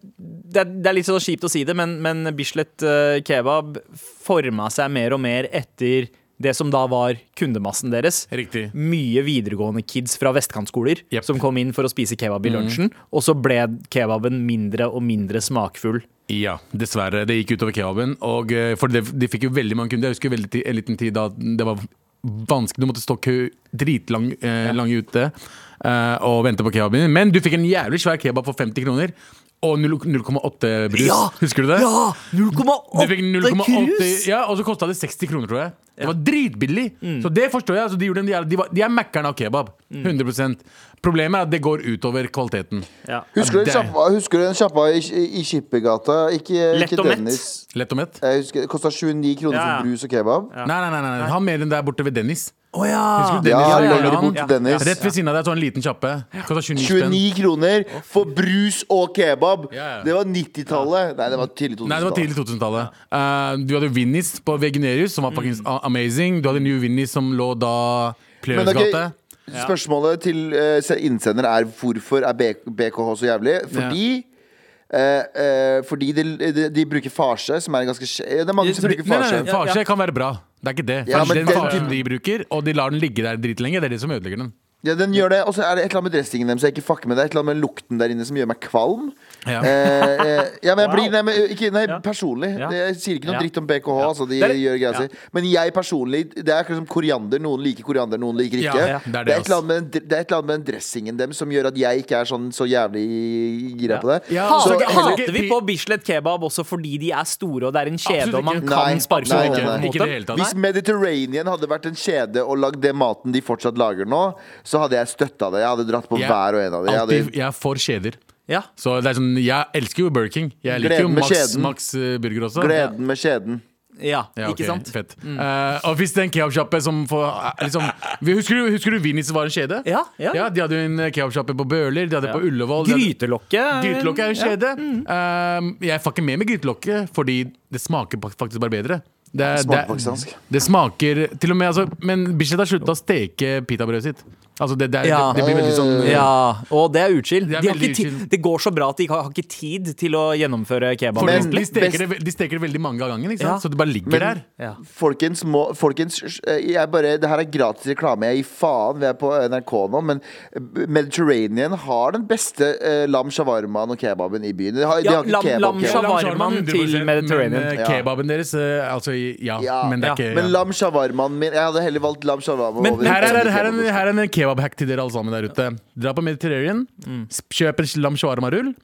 A: det er- det er litt så kjipt å si det, men, men Bislett eh, kebab forma seg mer og mer etter det som da var kundemassen deres.
B: Riktig.
A: Mye videregående kids fra vestkantskoler
B: Jep. Mm.
A: som kom inn for å spise kebab i lunsjen. Og så ble kebaben mindre og mindre smakfull.
B: Ja, dessverre. Det gikk utover kebaben. Og, eh, for de, de fikk jo veldig mange kunder. Jeg husker veldig, ti- en liten tid da det var vanskelig. Du måtte stå kø dritlang eh, lang ute eh, og vente på kebaben. din. Men du fikk en jævlig svær kebab for 50 kroner. Og 0 0,8 brus. Husker du det?
A: Ja!
B: Du
A: 0,8
B: fikk 0,80
A: krus! Mm.
B: Ja, Og så kosta det 60 kroner, tror jeg. Det var dritbillig! Så det forstår jeg. Altså, de, gjorde en jævla, de, var, de er Mækkern av kebab. 100 Problemet er at det går utover kvaliteten.
A: Ja.
D: Husker du den
B: det er-
D: sjappa, husker du den sjappa i, i Skippergata? Ikke,
A: Lett
D: ikke
A: og mett.
D: Dennis.
B: Lett og mett?
D: Jeg husker, det kosta 29 kroner
A: Ja, ja.
D: for brus og kebab.
B: Nei, nei, nei, nei, nei. Han mer enn der borte ved Dennis.
A: Å ja.
B: Dennis,
D: Ja,
B: ja, ja,
D: lenger
B: ja,
D: bort
B: ja,
D: til Dennis.
B: Rett ved siden av deg så en liten kjappe. Kosta 29 spenn.
D: 29 kroner for brus og kebab!
B: Ja, ja.
D: Det var 90-tallet. Nei, det var tidlig 2000-tallet.
B: Nei, det var tidlig 2000-tallet. Eh, du hadde Vinnis på Veginerius, som var fucking amazing. Du hadde New Vinnis, som lå da
D: Men
B: Pløyens
D: ok,
B: gate.
D: Spørsmålet til eh, se- innsender er hvorfor er B- BKH så jævlig? Fordi eh, eh, fordi de, de, de bruker farse, som er en ganske skje- Det er mange som
B: Nei,
D: bruker
B: nei,
D: farse.
B: nei, farse kan være bra. Det er ikke det.
D: Ja,
B: Farse-
D: men
B: den
D: den
B: farsen
D: typen-
B: de bruker, og de lar den ligge der dritlenge, det er det som ødelegger den.
D: Ja, den gjør det, Og så er det et eller annet med dressingen deres jeg ikke fucker med. Det er et eller annet med lukten der inne som gjør meg kvalm.
B: Ja.
D: Eh, eh, ja, men jeg
A: Wow.
D: blir Nei, men ikke, nei
A: Ja.
D: personlig.
A: Ja.
D: Jeg sier ikke noe
A: Ja.
D: dritt om BKH. Altså, de
A: Det er-
D: gjør greia si. Men jeg personlig Det er akkurat som koriander. Noen liker koriander, noen liker
B: Ja,
D: ikke.
B: ja, det er det,
D: et eller annet med, den- det er et eller annet med den dressingen dem som gjør at jeg ikke er sånn så jævlig gira på det.
B: Ja.
A: Hater,
D: Så,
B: ikke-
D: altså, heller-
B: ikke-
A: hater vi på Bislett kebab også fordi de er store og det er en
B: Absolutt
A: kjede og man
B: ikke.
D: Nei,
A: kan sparke
D: nei,
A: på
D: nei,
A: den
D: nei.
B: Ikke i det hele tatt.
A: måten?
D: hvis Mediterranean hadde vært en kjede og lagd den maten de fortsatt lager nå, så hadde jeg støtta det. Jeg hadde dratt på
B: Jeg-
D: hver og en av dem. Jeg hadde-
B: alltid- jeg er for kjeder.
A: Ja.
B: Så det er sånn, jeg elsker jo Burger King. Jeg liker jo
D: Gleden med
B: Max,
D: kjeden.
B: Max eh, Burger også.
D: Gleden med kjeden.
A: Ja,
B: Ja, ok,
A: ikke sant? Mm.
B: Fett. Eh, og hvis det er en kebabsjappe som får eh, liksom, vi- Husker du, husker du Vinnis var en kjede?
A: Ja, ja.
B: De hadde jo en eh, kebabsjappe på Bøler, de hadde på Ullevål. de hadde-
A: Grytelokket.
B: Grytelokket er jo en
A: Ja. Mm.
B: kjede. Eh, jeg fucker med med grytelokket, fordi det smaker pak- faktisk bare bedre. Det, er-
D: smaker
B: det er-
D: pakistansk.
B: Det smaker til og med altså, Men Bislett har slutta å steke pitabrødet sitt. Altså, det, det, er-
A: Ja.
B: det, det blir veldig sånn eh,
A: Ja, og det er utskill.
B: Det
A: Det,
B: er
A: de har
B: veldig
A: ikke ti-
B: utskill.
A: det går så bra at de ikke har, har ikke tid til å gjennomføre kebab.
D: Men-
B: de, steker
D: best-
B: det, ve- de steker det veldig mange av gangen, ikke
A: Ja.
B: sant? så det bare ligger
D: Men-
B: der.
A: ja.
D: Folkens, må, folkens eh, jeg bare, det her er gratis reklame. Jeg gir faen. Vi er på NRK nå, men eh, Mediterranean har den beste eh, lam shawarmaen og kebaben i byen. De har, de
A: Ja,
D: har ikke
A: lam-
D: kebab.
A: lam
D: kebab.
A: shawarma. Shawarmaen til
B: 100%,
A: Mediterranean.
B: Men eh,
D: Ja.
B: kebaben deres eh, Altså, ja,
D: Ja.
B: men det er
A: Ja.
B: ikke
D: Men
B: ja.
D: lam shawarmaen min Jeg hadde heller valgt lam shawarma.
A: Men-
D: over
A: men
D: en
B: Her er, her,
D: kebab.
B: er en, her er en kebabhack til dere alle sammen der ute. Dra på Mediterranean,
A: Mm.
B: sp- kjøp en lam shawarma-rull.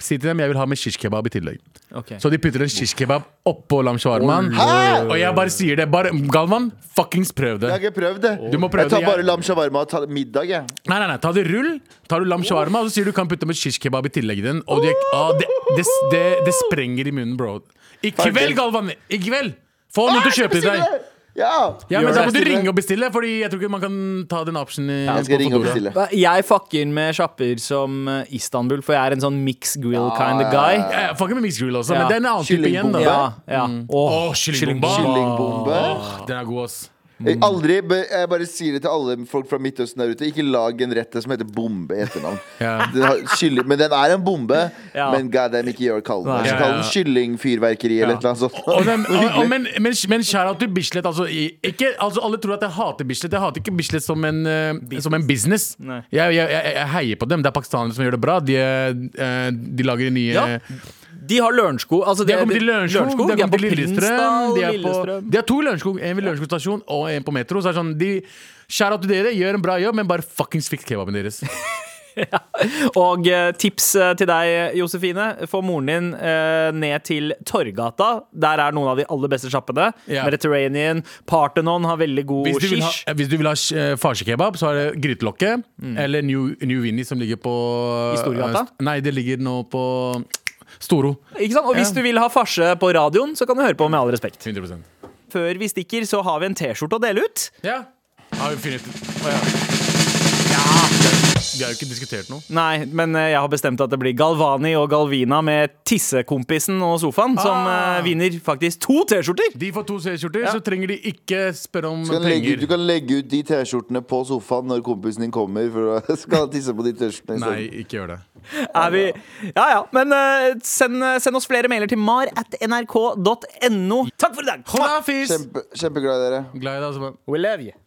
B: Si til dem jeg vil ha med shish kebab i tillegg.
A: ok.
B: Så de putter en shish kebab oppå lam shawarmaen. Og jeg bare sier det. Bare, Galvan, fuckings prøv det.
D: Jeg har ikke prøvd det.
B: Du må prøve
D: jeg tar
B: det, jeg-
D: bare lam shawarma og tar middag, jeg.
B: Nei, nei, nei, ta det rull. Tar du lam shawarma, og så sier du kan putte med shish kebab i tillegg i den. Og de, ah, det, det, det, det sprenger i munnen, bro. I kveld, Galvan! I kveld! Få noen til å kjøpe til deg.
D: Ja!
B: Ja, men
D: Gjør
B: Da
D: det.
B: må du ringe og bestille, Fordi jeg tror ikke man kan ta den optionen. i-
D: Jeg skal
B: på
D: ringe og
B: Foodora.
D: bestille.
A: Jeg fucker med sjapper som eh, Istanbul, for jeg er en sånn mix grill kind of guy.
B: Ja, jeg fucker med mixed grill også,
A: Ja.
B: men det er en annen type igjen. da
D: Kyllingbombe.
A: Ja, ja. Mm. Åh,
B: Åh, kyllingbombe.
D: Kyllingbombe.
B: Den er god, ass.
D: Jeg Aldri, be- jeg bare sier det til alle folk fra Midtøsten der ute. Ikke lag en rett som heter bombe i etternavn.
B: Ja.
D: Den har, kylling, men den er en bombe,
A: Ja.
D: men god damn, ikke gjør kall den det.
A: Nei.
D: Så Kall den
B: Ja, ja.
D: kyllingfyrverkeri eller et eller annet sånt.
B: Og dem- og- og- men men, men shout out til Bislett. Altså, i- ikke, altså, alle tror at jeg hater Bislett. Jeg hater ikke Bislett som en, eh, som en business.
A: Nei.
B: Jeg, jeg, jeg, jeg heier på dem. Det er pakistanere som gjør det bra. De, eh, de lager nye
A: Ja. De har Lørenskog. Altså,
B: De har kommet til Lørenskog,
A: Lørenskog,
B: de har
A: på
B: kommet til Lillestrøm.
A: Prinsdal,
B: De, er på,
A: Lillestrøm.
B: de har to i Lørenskog. En ved Lørenskog stasjon og en på Metro. Så det er sånn, de Shout out til dere, gjør en bra jobb, men bare fuckings fiks kebaben deres.
A: Og eh, tips eh, til deg, Josefine. Få moren din eh, ned til Torgata. Der er noen av de aller beste sjappene.
B: Ja.
A: Mediterranean, Parthenon har veldig god
B: Hvis du vil ha,
A: shish.
B: hvis du vil ha eh, farsekebab, så er det Grytelokket eller New, New Vinny som ligger på
A: I Storgata?
B: eh, st- Nei, det ligger nå på Storo.
A: Ikke sant? Og hvis
B: Ja.
A: du vil ha farse på radioen, så kan du høre på Med all respekt.
B: 100
A: Før vi stikker, så har vi en T-skjorte å dele ut.
B: Ja. Har vi funnet Å ja. Vi har jo ikke diskutert noe.
A: Nei, men eh, jeg har bestemt at det blir Galvani og Galvina med tissekompisen og sofaen, som
B: Ah.
A: eh, vinner faktisk to T-skjorter.
B: De får to C-skjorter, så trenger de ikke spørre om
D: Du kan, legge, ut-
B: penger.
D: du kan legge ut de T-skjortene på sofaen når kompisen din kommer. For å, skal han tisse på de T-skjortene i
B: Nei,
D: stedet.
B: ikke gjør det.
A: Er vi Ja ja. Men eh, send, send oss flere mailer til mar at nrk.no. Takk for i dag!
B: Hola, fis!
D: Kjempe, kjempeglad i dere.
B: Glad i deg, altså.
A: We love you.